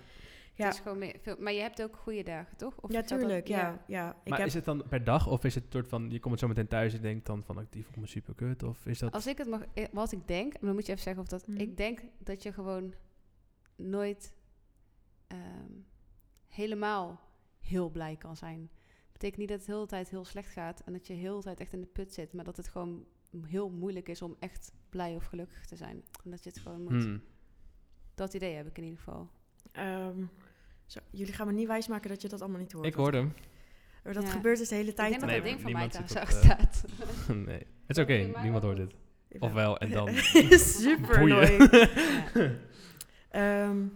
S1: Ja.
S3: Het is gewoon meer, veel, maar je hebt ook goede dagen, toch? Of
S1: ja,
S3: geldt dat-
S1: tuurlijk. Ja, ja. Ik
S2: maar
S1: heb,
S2: is het dan per dag of is het soort van, je komt zo meteen thuis en je denkt dan van, oh, die vond me super kut? Of is dat...
S3: Als ik het mag, eh, wat ik denk, maar dan moet je even zeggen of dat.
S1: Mhm.
S3: Ik denk dat je gewoon nooit ehm, helemaal heel blij kan zijn. Betekent niet dat het heel de tijd heel slecht gaat en dat je heel de tijd echt in de put zit, maar dat het gewoon m- heel moeilijk is om echt blij of gelukkig te zijn. En dat je het gewoon moet.
S2: Hmm.
S3: Dat idee heb ik in ieder geval.
S1: ehm, zo, jullie gaan me niet wijsmaken dat je dat allemaal niet hoort.
S2: Ik hoorde hem.
S1: Maar dat
S3: Ja.
S1: gebeurt dus de hele
S3: ik
S1: tijd.
S3: denk dat
S2: Nee,
S3: dat ding van mij
S2: niemand
S3: thuis
S2: zit op,
S3: zag
S2: eh,
S3: staat.
S2: nee, het <laughs>
S3: <laughs>
S2: is oké,
S3: Volgens mij
S2: niemand
S3: wel.
S2: hoort het.
S1: Jawel. <laughs>
S2: Ofwel, en dan...
S1: Super
S2: Boeien.
S1: annoying.
S3: Ja.
S1: Ehm,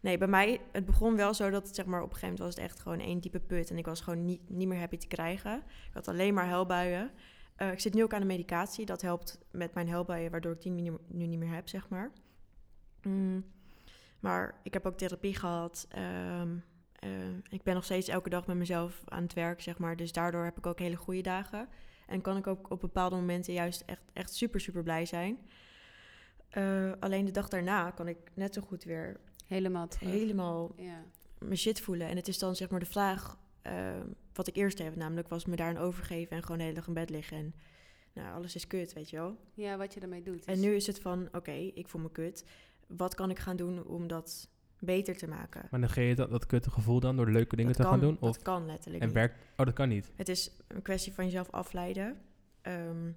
S1: nee, bij mij, het begon wel zo dat het zeg maar op een gegeven moment was het echt gewoon één diepe put. En ik was gewoon niet, niet meer happy te krijgen. Ik had alleen maar helbuien. Eh, ik zit nu ook aan de medicatie. Dat helpt met mijn helbuien, waardoor ik die nu, nu niet meer heb, zeg maar. Mm, Maar ik heb ook therapie gehad. Ehm, eh, ik ben nog steeds elke dag met mezelf aan het werk, zeg maar. Dus daardoor heb ik ook hele goede dagen. En kan ik ook op bepaalde momenten juist echt, echt super, super blij zijn. Eh, alleen de dag daarna kan ik net zo goed weer
S3: Helemaal terug.
S1: helemaal
S3: Ja.
S1: mijn shit voelen. En het is dan zeg maar de vraag eh, wat ik eerst heb. Namelijk was me daaraan overgeven en gewoon de hele dag in bed liggen. En nou, alles is kut, weet je wel.
S3: ja, wat je ermee doet.
S1: En
S3: is-
S1: nu is het van, oké, ik voel me kut. Wat kan ik gaan doen om dat beter te maken?
S2: Maar negeer je dat, dat kutte gevoel dan door leuke dingen
S1: dat
S2: te
S1: kan,
S2: gaan doen? Of,
S1: Dat kan letterlijk
S2: en
S1: niet.
S2: werkt... Oh, dat kan niet.
S1: Het is een kwestie van jezelf afleiden. Ehm,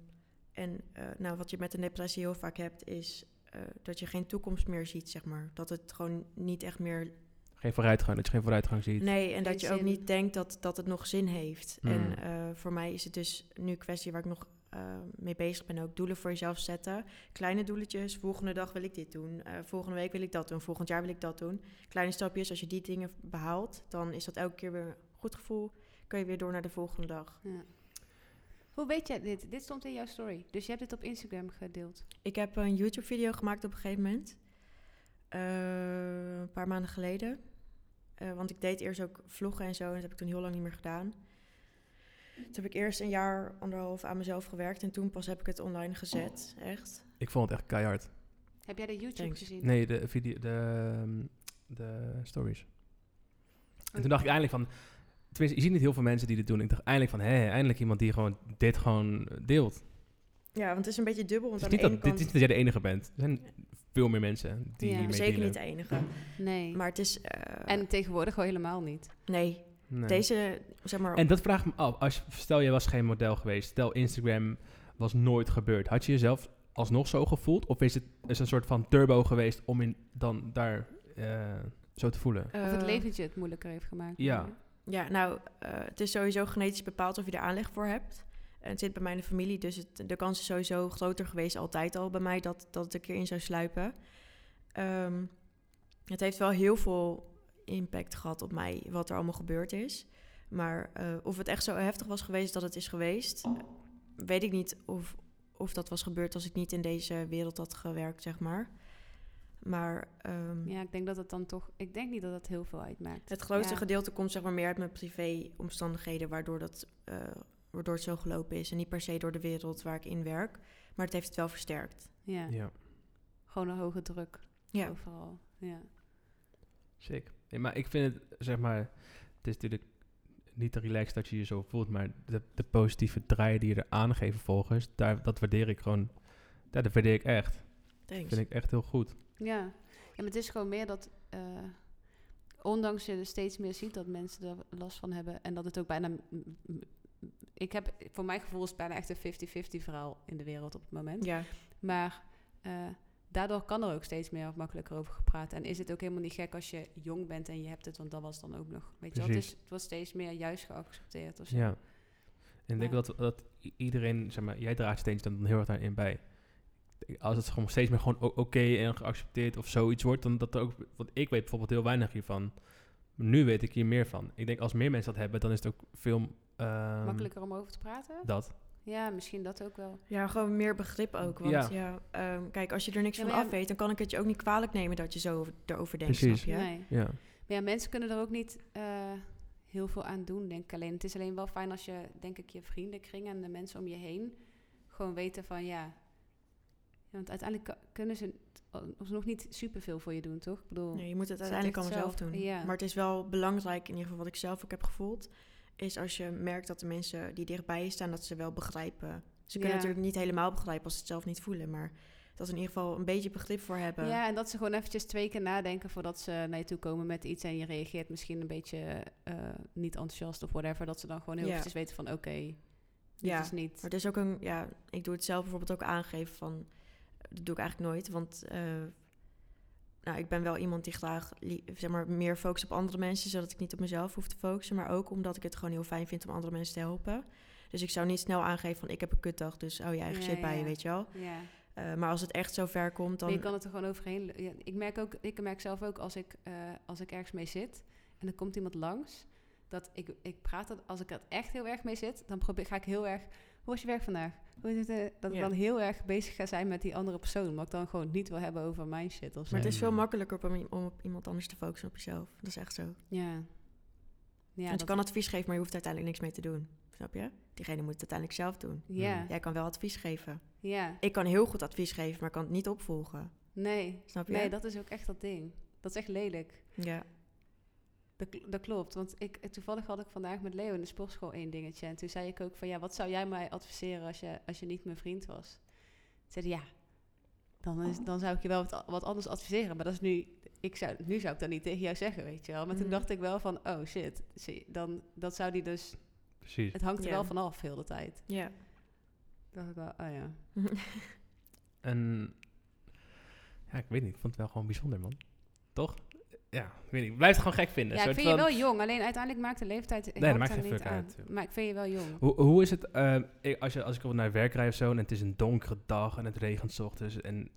S1: en eh, nou, wat je met een depressie heel vaak hebt, is eh, dat je geen toekomst meer ziet, zeg maar. Dat het gewoon niet echt meer
S2: Geen vooruitgang, dat je geen vooruitgang ziet.
S1: Nee, en dat
S3: Geen
S1: je ook
S3: zin.
S1: niet denkt dat, dat het nog zin heeft.
S2: Hmm.
S1: En eh, voor mij is het dus nu een kwestie waar ik nog eh, mee bezig ben. Ook doelen voor jezelf zetten. Kleine doeletjes. Volgende dag wil ik dit doen. eh, volgende week wil ik dat doen. Volgend jaar wil ik dat doen. Kleine stapjes. Als je die dingen behaalt, dan is dat elke keer weer een goed gevoel. Kun je weer door naar de volgende dag.
S3: Ja. Hoe weet jij dit? Dit stond in jouw story. Dus je hebt dit op Instagram gedeeld.
S1: Ik heb een YouTube-video gemaakt op een gegeven moment. Eh, een paar maanden geleden. Eh, want ik deed eerst ook vloggen en zo. En dat heb ik toen heel lang niet meer gedaan. Toen heb ik eerst een jaar, anderhalf aan mezelf gewerkt. En toen pas heb ik het online gezet. Echt.
S2: Ik vond het echt keihard.
S3: Heb jij de YouTube
S1: Thanks.
S3: gezien?
S2: Nee, de, video, de, ehm, de stories. En
S1: Oh.
S2: toen dacht ik ah, eindelijk van... Tenminste, je ziet niet heel veel mensen die dit doen. Ik dacht eindelijk van, hé, eindelijk iemand die gewoon dit gewoon eh, deelt.
S1: Ja, want het is een beetje dubbel. Want
S2: Het is,
S1: aan
S2: niet
S1: de
S2: dat,
S1: ene
S2: dit is
S1: kant...
S2: niet dat jij de enige bent. Er zijn veel meer mensen die
S3: Ja.
S2: hiermee
S1: Zeker
S2: dealen.
S1: niet de enige.
S3: Nee.
S1: Maar het is... eh,
S3: en tegenwoordig gewoon helemaal niet.
S1: nee,
S2: Nee.
S1: deze, zeg maar...
S2: En dat vraagt me af. Als, stel, jij was geen model geweest. Stel, Instagram was nooit gebeurd. Had je jezelf alsnog zo gevoeld? Of is het is een soort van turbo geweest om in, dan daar eh, zo te voelen?
S1: eh,
S3: Of het leventje het moeilijker heeft gemaakt.
S2: Ja.
S1: Ja, nou, eh, het is sowieso genetisch bepaald of je er aanleg voor hebt. En het zit bij mij in de familie, dus het, de kans is sowieso groter geweest altijd al bij mij dat, dat het een keer in zou sluipen. Ehm, het heeft wel heel veel impact gehad op mij, wat er allemaal gebeurd is. Maar eh, of het echt zo heftig was geweest dat het is geweest, eh, weet ik niet of, of dat was gebeurd als ik niet in deze wereld had gewerkt, zeg maar. Maar ehm,
S3: Ja, ik denk dat het dan toch... Ik denk niet dat dat heel veel uitmaakt.
S1: het grootste
S3: Ja.
S1: gedeelte komt zeg maar meer uit mijn privéomstandigheden, waardoor, dat, eh, waardoor het zo gelopen is. En niet per se door de wereld waar ik in werk. Maar het heeft het wel versterkt.
S3: Ja.
S2: Ja,
S3: Gewoon een hoge druk.
S1: Ja.
S3: Overal. Ja.
S2: sick. Nee, maar ik vind het, zeg maar... Het is natuurlijk niet te relaxed dat je je zo voelt. Maar de, de positieve draai die je er aangeeft volgens... Daar, dat waardeer ik gewoon... Ja, dat waardeer ik echt.
S1: Thanks.
S2: Dat vind ik echt heel goed.
S3: Ja. ja. Maar het is gewoon meer dat... eh, ondanks je er steeds meer ziet dat mensen er last van hebben. En dat het ook bijna... m- m- Ik heb... Voor mijn gevoel is het bijna echt een 50-50 verhaal in de wereld op het moment.
S1: Ja,
S3: Maar eh, daardoor kan er ook steeds meer makkelijker over gepraat. En is het ook helemaal niet gek als je jong bent en je hebt het, want dat was dan ook nog. Weet je wel, het,
S2: Precies.
S3: is, het wordt steeds meer juist geaccepteerd. Dus Of zo.
S2: Ja. En ik denk
S3: Ja.
S2: dat, dat i- iedereen, zeg maar, jij draagt steeds dan heel erg daarin bij. Ik- Als het gewoon steeds meer gewoon o- oké en geaccepteerd of zoiets wordt, dan dat er ook, want ik weet bijvoorbeeld heel weinig hiervan. Maar Nu weet ik hier meer van. Ik denk als meer mensen dat hebben, dan is het ook veel ehm,
S3: Makkelijker om over te praten?
S2: Dat.
S3: Ja, misschien dat ook wel.
S1: ja gewoon meer begrip ook. Want
S2: Ja.
S1: ja. ehm, kijk, als je er niks
S3: Ja,
S1: van
S3: maar ja,
S1: af weet, dan kan ik het je ook niet kwalijk nemen dat je zo over- erover denkt,
S2: Precies.
S1: snap je?
S3: Nee.
S2: Ja.
S3: Maar ja, mensen kunnen er ook niet eh, heel veel aan doen, denk ik alleen. Het is alleen wel fijn als je, denk ik, je vriendenkring en de mensen om je heen gewoon weten van ja. want uiteindelijk ka- kunnen ze, of nog niet superveel voor je doen, toch? Ik bedoel,
S1: Nee, je moet het
S3: het
S1: uiteindelijk
S3: echt
S1: allemaal zelf
S3: zelf,
S1: doen.
S3: ja.
S1: Maar het is wel belangrijk, in ieder geval wat ik zelf ook heb gevoeld, is als je merkt dat de mensen die dichtbij je staan, dat ze wel begrijpen. Ze kunnen
S3: Ja.
S1: natuurlijk niet helemaal begrijpen als ze het zelf niet voelen, maar dat ze in ieder geval een beetje begrip voor hebben.
S3: Ja, en dat ze gewoon eventjes twee keer nadenken voordat ze naar je toe komen met iets en je reageert misschien een beetje eh, niet enthousiast of whatever. Dat ze dan gewoon heel
S1: Ja.
S3: eventjes weten van oké, dit
S1: Ja.
S3: is niet.
S1: Maar het is ook een, ja, ik doe het zelf bijvoorbeeld ook aangeven van, dat doe ik eigenlijk nooit, want eh, nou, ik ben wel iemand die graag li- zeg maar, meer focust op andere mensen, zodat ik niet op mezelf hoef te focussen, maar ook omdat ik het gewoon heel fijn vind om andere mensen te helpen. Dus ik zou niet snel aangeven van, ik heb een kutdag, dus hou je eigen
S3: Ja,
S1: shit bij je,
S3: ja.
S1: weet je wel.
S3: Ja.
S1: Eh, maar als het echt zo ver komt, dan...
S3: Maar je kan het er gewoon overheen. Ja, ik, merk ook, ik merk zelf ook als ik, eh, als ik ergens mee zit en er komt iemand langs, dat ik, ik praat dat als ik er echt heel erg mee zit, dan probeer, ga ik heel erg. Hoe was je werk vandaag? Hoe is het, eh?" dat ik
S1: Ja.
S3: dan heel erg bezig ga zijn met die andere persoon, maar ik dan gewoon niet wil hebben over mijn shit of zo.
S1: Maar het is veel
S2: Mm.
S1: makkelijker om, om op iemand anders te focussen dan op jezelf. Dat is echt zo.
S3: Ja. Ja,
S1: Want je
S3: dat-
S1: kan advies geven, maar je hoeft uiteindelijk niks mee te doen. Snap je? Diegene moet het uiteindelijk zelf doen.
S3: ja,
S2: Mm.
S1: Jij kan wel advies geven.
S3: ja.
S1: Ik kan heel goed advies geven, maar kan het niet opvolgen.
S3: Nee,
S1: Snap je?
S3: nee, dat is ook echt dat ding. Dat is echt lelijk.
S1: Ja.
S3: Dat, kl- dat klopt, want ik, eh, toevallig had ik vandaag met Leo in de sportschool één dingetje. En toen zei ik ook van, ja, wat zou jij mij adviseren als je, als je niet mijn vriend was? Toen zei hij, ja, dan, is, dan zou ik je wel wat, a- wat anders adviseren. Maar dat is nu, ik zou, nu zou ik dat niet tegen jou zeggen, weet je wel. Maar toen
S1: Mhm.
S3: dacht ik wel van, oh shit, zie- dan, dat zou die dus...
S2: Precies.
S3: Het hangt er
S1: Ja.
S3: wel vanaf, heel de tijd.
S1: Ja.
S3: dacht ik wel, oh ja.
S2: En ja, ik weet niet, ik vond het wel gewoon bijzonder, man. Toch? Ja, ik weet niet. Ik blijf het gewoon gek vinden.
S3: ja, ik
S2: Soort
S3: vind je
S2: van-
S3: wel jong, alleen uiteindelijk maakt de leeftijd...
S2: dat
S3: hangt
S2: maakt
S3: er
S2: geen
S3: niet
S2: fuck
S3: aan.
S2: uit, joh.
S3: Maar ik vind je wel jong.
S2: Hoe, hoe is het, eh, ik- als, je, als ik naar werk rijd of zo en het is een donkere dag en het regent 's ochtends en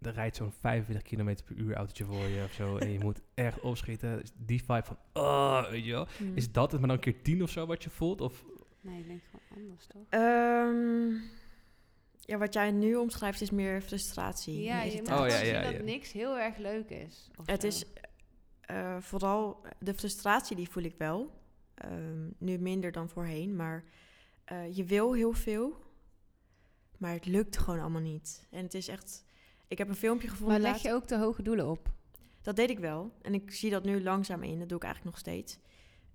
S2: er rijdt zo'n 45 km per uur autootje voor je of zo en je moet echt opschieten. Is Die vibe van, oh, weet je wel.
S1: Hmm.
S2: Is dat het maar dan een keer 10 of zo wat je voelt? Of,
S3: Nee, ik denk gewoon anders, toch?
S1: Ehm, ja, wat jij nu omschrijft is meer frustratie. en
S3: Ja, je moet
S1: irritatie.
S2: Oh,
S3: gewoon
S2: ja,
S3: zien
S2: ja,
S3: dat
S2: ja.
S3: niks heel erg leuk is. of
S1: Het
S3: zo.
S1: is eh, vooral de frustratie die voel ik wel. Ehm, nu minder dan voorheen, maar eh, je wil heel veel, maar het lukt gewoon allemaal niet. En het is echt. Ik heb een filmpje
S3: Maar
S1: gevonden.
S3: leg
S1: laatst.
S3: je ook te hoge doelen op?
S1: Dat deed ik wel. En ik zie dat nu langzaam in. Dat doe ik eigenlijk nog steeds.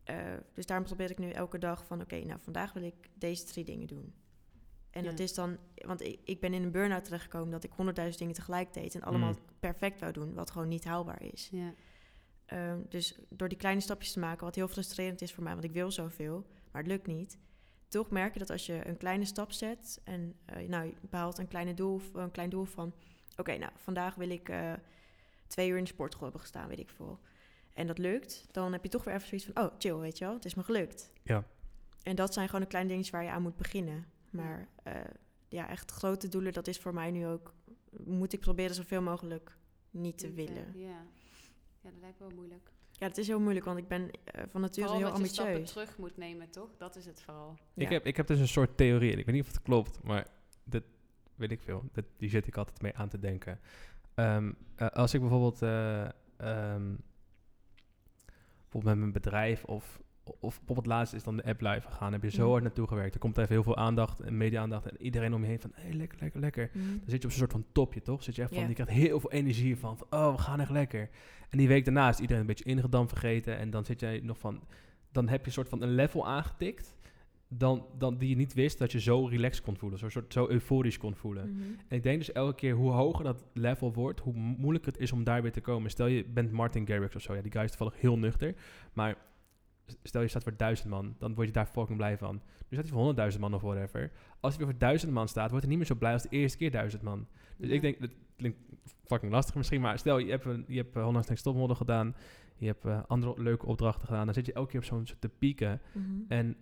S1: Eh, dus daarom probeer ik nu elke dag van... oké, nou vandaag wil ik deze drie dingen doen. En
S3: Ja.
S1: dat is dan... want ik, ik ben in een burn-out terechtgekomen... dat ik honderdduizend dingen tegelijk deed... en allemaal
S2: Mm.
S1: perfect wou doen... wat gewoon niet haalbaar is.
S3: Ja.
S1: Ehm, dus door die kleine stapjes te maken, wat heel frustrerend is voor mij, want ik wil zoveel, maar het lukt niet. Toch merk je dat als je een kleine stap zet en eh, nou, je behaalt een, kleine doel, eh, een klein doel van: oké, nou vandaag wil ik eh, twee uur in de sportschool hebben gestaan, weet ik veel. En dat lukt, dan heb je toch weer even zoiets van: oh chill, weet je wel, het is me gelukt.
S2: Ja.
S1: En dat zijn gewoon de kleine dingetjes waar je aan moet beginnen. Maar eh, ja, echt grote doelen, dat is voor mij nu ook, moet ik proberen zoveel mogelijk niet te
S3: eh,
S1: willen.
S3: Ja. ja, dat lijkt wel moeilijk.
S1: Ja, het is heel moeilijk, want ik ben eh, van nature
S3: Vooral
S1: heel
S3: dat je stappen
S1: ambitieus.
S3: terug moet nemen, toch? Dat is het vooral.
S2: ik,
S1: Ja.
S2: heb, ik heb dus een soort theorie en ik weet niet of het klopt, maar dat weet ik veel. Dat, die zit ik altijd mee aan te denken. Ehm, eh, als ik bijvoorbeeld, eh, ehm, bijvoorbeeld met mijn bedrijf of, of bijvoorbeeld laatst is dan de app live gegaan, heb je zo
S1: Mhm.
S2: hard naartoe gewerkt. Er komt even heel veel aandacht en media-aandacht en iedereen om je heen van, hey, lekker, lekker, lekker.
S1: Mhm.
S2: Dan zit je op een soort van topje, toch? Zit je echt van,
S1: Ja.
S2: je krijgt heel veel energie van, van, oh, we gaan echt lekker. En die week daarna is iedereen een beetje ingedampt vergeten. En dan zit jij nog van, dan heb je een soort van een level aangetikt. Dan, dan die je niet wist dat je zo relaxed kon voelen. Zo, soort, zo euforisch kon voelen.
S1: Mhm.
S2: En ik denk dus elke keer hoe hoger dat level wordt, hoe moeilijker het is om daar weer te komen. Stel je bent Martin Garrix of zo. Ja, die guy is toevallig heel nuchter. Maar s- stel je staat voor duizend man, dan word je daar fucking blij van. Nu staat hij voor honderdduizend man of whatever. Als hij weer voor duizend man staat, wordt hij niet meer zo blij als de eerste keer duizend man. Dus ik denk, dat klinkt fucking lastig misschien, maar stel je hebt, een, je hebt eh, onlangs een stopmodel gedaan. Je hebt eh, andere leuke opdrachten gedaan. Dan zit je elke keer op zo'n soort te pieken.
S1: Mhm.
S2: En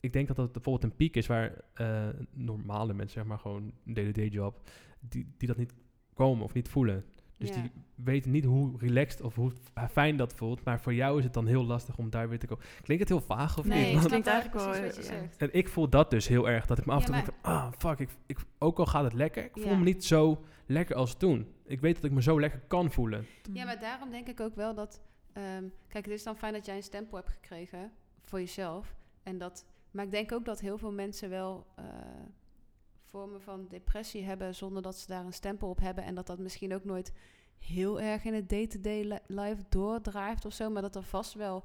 S2: ik denk dat dat bijvoorbeeld een piek is waar eh, normale mensen, zeg maar gewoon een day-to-day job, die, die dat niet komen of niet voelen. Dus die weten niet hoe relaxed of hoe fijn dat voelt. Maar voor jou is het dan heel lastig om daar weer te komen. Klinkt het heel vaag of
S1: Nee,
S2: niet?
S1: ik
S2: Want- <laughs>
S1: snap- klinkt eigenlijk wel, eh,
S3: wat je
S1: ja.
S3: zegt.
S2: en ik voel dat dus heel erg. Dat ik me af en toe
S3: Ja,
S2: denk van, ah, fuck, ik, ik, ook al gaat het lekker, ik voel
S3: Ja.
S2: me niet zo lekker als toen. Ik weet dat ik me zo lekker kan voelen.
S3: Ja, maar daarom denk ik ook wel dat... ehm, kijk, het is dan fijn dat jij een stempel hebt gekregen voor jezelf. En dat, maar ik denk ook dat heel veel mensen wel eh, vormen van depressie hebben zonder dat ze daar een stempel op hebben. En dat dat misschien ook nooit heel erg in het day-to-day li- life doordrijft of zo. Maar dat er vast wel.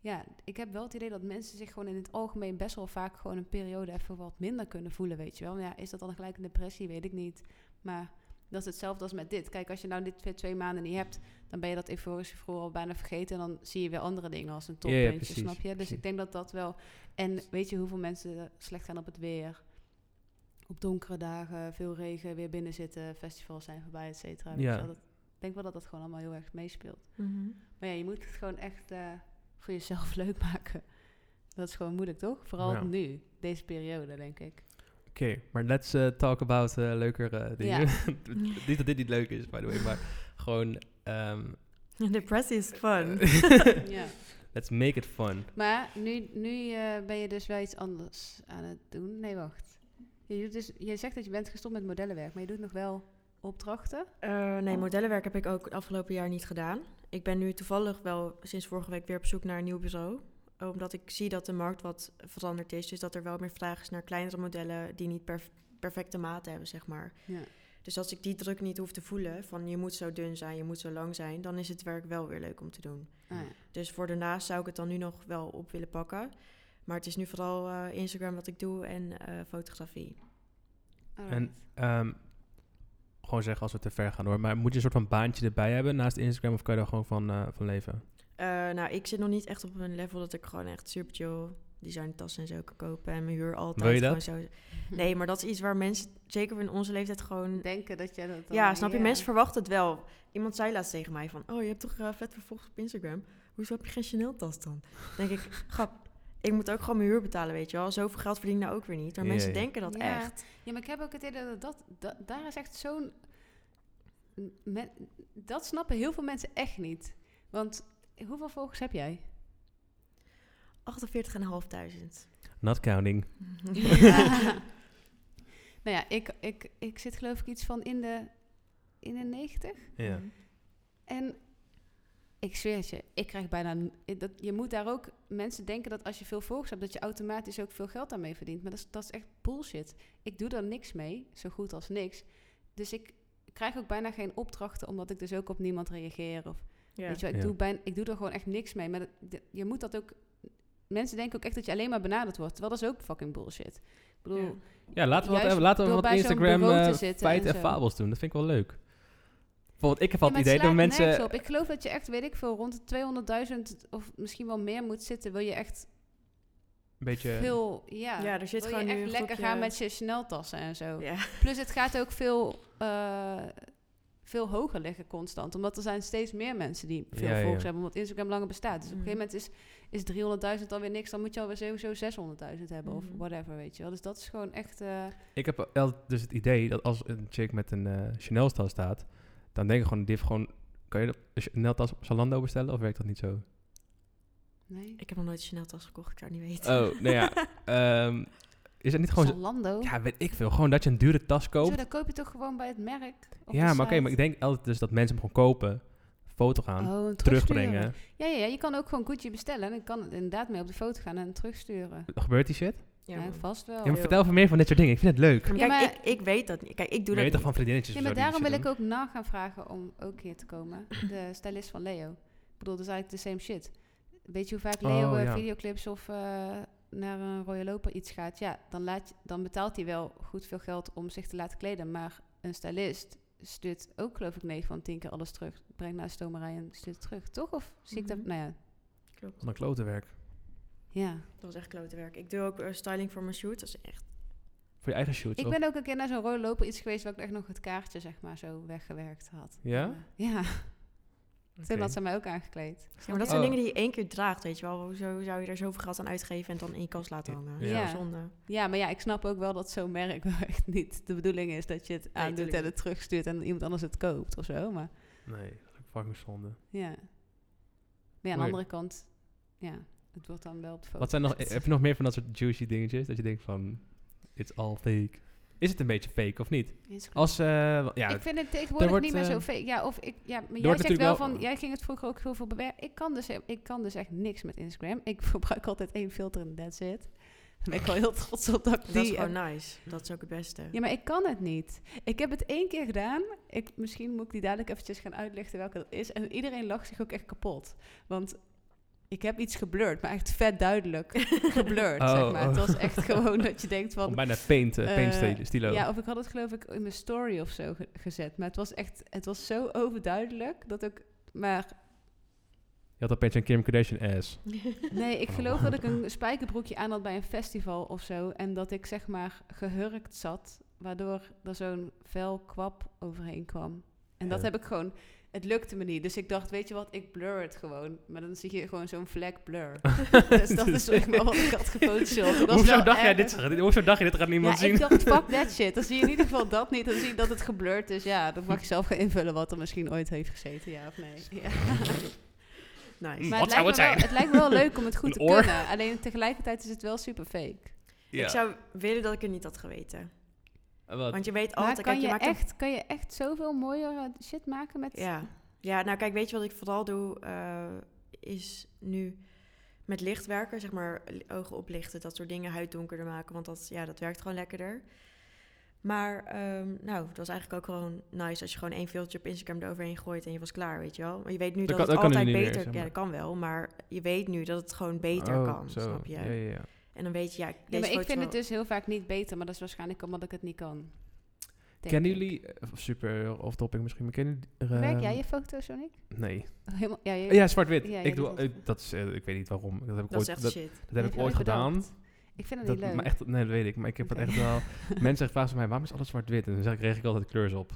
S3: Ja, ik heb wel het idee dat mensen zich gewoon in het algemeen best wel vaak gewoon een periode even wat minder kunnen voelen, weet je wel. Maar ja, is dat dan gelijk een depressie? Weet ik niet. Maar dat is hetzelfde als met dit. Kijk, als je nou dit twee- twee maanden niet hebt, dan ben je dat euforische gevoel al bijna vergeten. En dan zie je weer andere dingen als een
S2: Ja, ja,
S3: toppuntje,
S2: precies,
S3: snap je? Dus
S2: precies.
S3: ik denk dat dat wel... En weet je hoeveel mensen slecht gaan op het weer? Op donkere dagen, veel regen, weer binnen zitten, festivals zijn voorbij, et cetera. weet
S2: Ja.
S3: je wel. Dat- Ik denk wel dat dat gewoon allemaal heel erg meespeelt.
S1: Mhm.
S3: Maar ja, je moet het gewoon echt eh, voor jezelf <laughs> leuk maken. Dat is gewoon moeilijk, toch? Vooral
S2: Ja.
S3: nu, deze periode, denk ik. <laughs>
S2: Oké, maar let's eh, talk about eh, leuker eh, dingen. <laughs> niet dat dit niet leuk is, by the way, maar gewoon... ehm, eh,
S1: Depressie is fun.
S3: ja.
S2: <laughs> let's make it fun.
S3: Maar nu, nu eh, ben je dus wel iets anders aan het doen. Nee, wacht. Je, doet dus, je zegt dat je bent gestopt met modellenwerk, maar je doet nog wel opdrachten.
S1: <laughs> Eh, nee, modellenwerk heb ik ook het afgelopen jaar niet gedaan. Ik ben nu toevallig wel sinds vorige week weer op zoek naar een nieuw bureau. Omdat ik zie dat de markt wat veranderd is. Dus dat er wel meer vraag is naar kleinere modellen die niet perf- perfecte maten hebben, zeg maar.
S3: Ja.
S1: Dus als ik die druk niet hoef te voelen, van je moet zo dun zijn, je moet zo lang zijn, dan is het werk wel weer leuk om te doen.
S3: Ah, ja.
S1: Dus voor daarnaast zou ik het dan nu nog wel op willen pakken. Maar het is nu vooral eh, Instagram wat ik doe en eh, fotografie.
S3: Alright.
S2: Ehm, gewoon zeggen als we te ver gaan hoor. Maar moet je een soort van baantje erbij hebben naast Instagram of kan je daar gewoon van, eh, van leven?
S1: Eh, nou, ik zit nog niet echt op een level dat ik gewoon echt super chill designtassen en zo kan kopen. En mijn huur altijd
S2: Wil je
S1: gewoon zo. Nee, maar dat is iets waar mensen, zeker in onze leeftijd, gewoon...
S3: Denken dat jij dat. eh, dan-
S1: Ja, snap je? Mensen verwachten het wel. Iemand zei laatst tegen mij van... Oh, je hebt toch eh, vet vervolgd op Instagram? Hoezo heb je geen Chanel-tas dan? Dan denk ik, <laughs> grap, ik moet ook gewoon mijn huur betalen, weet je wel. Zoveel geld verdien ik nou ook weer niet. Maar
S2: Ja,
S1: mensen
S2: ja.
S1: denken dat
S3: Ja.
S1: echt.
S3: Ja, maar ik heb ook het idee dat, dat, dat- daar is echt zo'n. men- dat snappen heel veel mensen echt niet. Want hoeveel volgers heb
S1: <laughs>
S3: jij?
S1: 48.500.
S2: Not counting.
S1: <laughs>
S3: nou ja, ik, ik, ik zit geloof ik iets van in de, in de 90.
S2: Ja.
S3: En ik zweer het je, ik krijg bijna... n- ik- Dat, je moet daar ook... Mensen denken dat als je veel volgers hebt, dat je automatisch ook veel geld daarmee verdient. Maar dat is, dat is echt bullshit. Ik doe daar niks mee, zo goed als niks. Dus ik krijg ook bijna geen opdrachten, omdat ik dus ook op niemand reageer. Of,
S1: Ja.
S3: weet je wel, ik,
S2: Ja.
S3: doe bijna, ik doe er gewoon echt niks mee. Maar dat- de- je moet dat ook... Mensen denken ook echt dat je alleen maar benaderd wordt. Terwijl dat is ook fucking bullshit. Ik bedoel,
S1: Ja.
S2: Ja, laten we wat,
S3: Juist
S2: hebben. laten we
S3: door
S2: wat
S3: bij zo'n
S2: Instagram
S3: bureau te
S2: eh,
S3: zitten
S2: feiten
S3: en
S2: en
S3: zo.
S2: fabels doen. Dat vind ik wel leuk. Bijvoorbeeld, ik heb altijd
S3: Ja,
S2: het
S3: maar
S2: idee
S3: het
S2: dat
S3: slaat nergens
S2: mensen...
S3: op. Ik geloof dat je echt, weet ik veel, rond de 200.000 of misschien wel meer moet zitten. Wil je echt
S2: Een beetje...
S3: veel... Ja,
S1: Ja, er zit
S3: wil
S1: gewoon
S3: je
S1: nu
S3: echt
S1: een
S3: lekker
S1: groepje-
S3: gaan met je sneltassen en zo.
S1: Ja.
S3: Plus het gaat ook veel, eh, veel hoger liggen constant. Omdat er zijn steeds meer mensen die veel
S2: Ja, ja.
S3: volgers hebben. Omdat Instagram langer bestaat. Dus op een
S1: Mhm.
S3: gegeven moment is, is 300.000 alweer niks. Dan moet je alweer sowieso 600.000 hebben of
S1: Mhm.
S3: whatever, weet je wel. Dus dat is gewoon echt... eh,
S2: Ik heb altijd dus het idee dat als een chick met een eh Chanel-tas staat, dan denk ik gewoon, die heeft gewoon... Kan je dat- een Chanel-tas op Zalando bestellen of werkt dat niet zo?
S3: nee.
S1: Ik heb nog nooit een Chanel-tas gekocht, ik zou het niet weten.
S2: Oh, nou
S3: <laughs>
S2: ja. ehm, is het niet gewoon... zo-
S3: Zalando.
S2: Ja, weet ik veel. Gewoon dat je een dure tas
S3: Zo,
S2: koopt.
S3: dan koop je toch gewoon bij het merk? op
S2: Ja, maar
S3: de
S2: oké,
S3: site?
S2: maar ik denk altijd dus dat mensen hem gewoon kopen, foto gaan,
S3: Oh, en terugsturen.
S2: terugbrengen.
S3: Ja, ja, ja, je kan ook gewoon Gucci bestellen. En dan kan het inderdaad mee op de foto gaan en terugsturen.
S2: Gebeurt die shit?
S1: Ja,
S3: Ja,
S1: man.
S3: vast wel.
S2: Ja, maar
S1: joh.
S2: vertel even meer van dit soort dingen. Ik vind het leuk.
S1: Ja, maar
S3: Ja,
S1: kijk,
S3: maar-
S1: ik, ik weet dat niet. Kijk, ik doe
S2: Je weet
S1: dat
S2: toch
S1: niet.
S2: van vriendinnetjes
S3: Ja,
S2: of
S3: maar
S2: zo die
S3: daarom
S2: shit
S3: wil ik
S2: doen?
S3: ook na gaan vragen om ook hier te komen.
S2: <laughs>
S3: De stylist van Leo. Ik bedoel, dat is eigenlijk de same shit. Weet je hoe vaak Leo
S2: Oh,
S3: eh,
S2: ja.
S3: videoclips of eh, naar een rode loper iets gaat? Ja, dan, laat, je- dan betaalt hij wel goed veel geld om zich te laten kleden. Maar een stylist stuurt ook geloof ik 9 van 10 keer alles terug. Brengt naar de stomerij en stuurt het terug. Toch? Of zie ik dat?
S1: Mhm.
S3: Nou ja.
S1: Klopt.
S2: Wat een klote werk.
S3: Ja.
S1: Dat was echt klote werk. Ik doe ook eh, styling voor mijn shoot. Dat is echt...
S2: Voor je eigen shoots.
S3: Ik
S2: of-
S3: ben ook een keer naar zo'n rode loper iets geweest waar ik echt nog het kaartje zeg maar zo weggewerkt had.
S2: Ja?
S3: Ja. <laughs> Toen
S2: Oké.
S3: had ze mij ook aangekleed.
S1: Ja, maar dat zijn
S2: Oh.
S1: dingen die je één keer draagt, weet je wel. Hoezo zou je daar zoveel geld aan uitgeven en dan in je kast laten hangen?
S2: Ja.
S1: Ja.
S3: Ja.
S1: Zonde.
S3: Ja, maar ja, ik snap ook wel dat zo'n merk <laughs> wel echt niet de bedoeling is dat je het aandoet
S1: tuurlijk
S3: en
S1: niet.
S3: het terugstuurt en iemand anders het koopt of zo. Maar
S2: Nee, dat is fucking zonde.
S3: ja. Maar ja, aan
S2: Mooi.
S3: de andere kant, ja, het wordt dan wel op de foto.
S2: Wat zijn nog, eh,
S3: gezet.
S2: heb je nog meer van dat soort juicy dingetjes? Dat je denkt van, it's all fake. Is het een beetje fake of niet?
S3: Is goed.
S2: Als, eh, wel- ja,
S3: ik vind het tegenwoordig
S2: wordt,
S3: niet meer zo
S2: eh,
S3: fake. Ja, of ik, ja, maar jij
S2: wordt
S3: zegt
S2: natuurlijk
S3: wel
S2: wel-
S3: van, jij ging het vroeger ook heel veel <laughs> bewerken. Ik kan dus, ik kan dus echt niks met Instagram. Ik gebruik altijd één filter en that's it. Daar ben ik wel heel trots op dat ik
S1: dat is
S3: die eh,
S1: gewoon nice. Dat is ook het beste.
S3: Ja, maar ik kan het niet. Ik heb het één keer gedaan. Ik, misschien moet ik die dadelijk eventjes gaan uitlichten welke dat is. En iedereen lacht zich ook echt kapot. Want ik heb iets geblurred, maar echt vet duidelijk
S1: <laughs>
S3: geblurred,
S2: Oh,
S3: zeg maar. Het
S2: oh.
S3: was echt gewoon dat je
S2: <laughs>
S3: denkt van...
S2: Om bijna paint, eh,
S3: eh,
S2: paint sti- stilo.
S3: Ja, of ik had het geloof ik in mijn story of zo ge- gezet. Maar het was echt... Het was zo overduidelijk dat ik... Maar
S2: Je had al paint van Kim Kardashian ass.
S3: Nee, ik geloof dat ik een spijkerbroekje aan had bij een festival of zo. En dat ik zeg maar gehurkt zat, waardoor er zo'n vel kwap overheen kwam. En dat
S2: Ja.
S3: heb ik gewoon... Het lukte me niet. Dus ik dacht, weet je wat, ik blur het gewoon. Maar dan zie je gewoon zo'n vlek
S2: <laughs>
S3: blur. dus dat is zeg maar wat ik had gefotoshopt. Ik was
S2: Hoezo
S3: wel
S2: dacht, jij
S3: erg-
S2: dit, dit- hoezo dacht je dit gaat
S3: Ja,
S2: niemand zien?
S3: ik dacht, fuck
S2: <laughs>
S3: that shit. Dan zie je in ieder geval dat niet. Dan zie je dat het geblurred is. Ja, dan mag je zelf gaan invullen wat er misschien ooit heeft gezeten. Ja of nee. Ja.
S1: Nice.
S2: Mm,
S3: Maar
S2: wat zou
S3: het, lijkt
S2: het
S3: me wel,
S2: zijn?
S3: het lijkt me wel leuk om het goed
S2: Een
S3: te
S2: oor?
S3: kunnen. Alleen tegelijkertijd is het wel super fake.
S2: Ja.
S1: Ik zou willen dat ik het niet had geweten.
S2: Eh, wat?
S1: Want je weet
S3: maar
S1: altijd...
S3: kan,
S1: Oh, kijk,
S3: je
S1: maakt een-
S3: echt, kan je echt zoveel mooier eh, shit maken met...
S1: Ja. ja, nou kijk, weet je wat ik vooral doe? eh, is nu met licht werken, zeg maar li- ogen oplichten, dat soort dingen, huid donkerder maken. Want dat, ja, dat werkt gewoon lekkerder. Maar ehm, nou, het was eigenlijk ook gewoon nice als je gewoon één filmpje op Instagram eroverheen gooit en je was klaar, weet je wel. Maar je weet nu
S2: Dat
S1: dat,
S2: kan-
S1: het
S2: dat kan nu
S1: altijd
S2: niet meer,
S1: beter...
S2: zeg
S1: Ja,
S2: maar.
S1: dat kan wel, maar je weet nu dat het gewoon beter
S2: Oh,
S1: kan,
S2: zo.
S1: snap je?
S2: Ja, ja, ja.
S1: En dan weet je, ja, deze
S3: Ja, maar ik
S1: foto
S3: vind
S1: is
S3: het dus heel vaak niet beter. Maar dat is waarschijnlijk omdat ik het niet kan. Denk
S2: Kennen
S3: ik.
S2: jullie, eh, super off-topic misschien, maar kennen jullie... eh,
S3: Werk jij je foto's, Sonic?
S2: Nee.
S3: ehm, Oh, Helemaal, ja, je,
S2: Ja, zwart-wit.
S3: Ja, jij
S2: ik, doe,
S3: doet dat.
S2: ik- dat is, eh, ik weet niet waarom. Dat heb ik
S1: Dat is
S2: ooit,
S1: echt
S2: dat,
S1: shit.
S2: dat heb
S3: Heb
S2: ik
S3: je
S2: ooit
S3: ooit
S2: gedaan.
S3: bedacht? Ik vind het
S2: Dat,
S3: niet leuk.
S2: maar echt, nee, dat weet ik. Maar ik heb
S3: Oké.
S2: het echt
S3: <laughs>
S2: wel... mensen vragen van mij, waarom is alles zwart-wit? En dan zeg ik, kreeg ik altijd kleurs
S3: <laughs>
S2: op.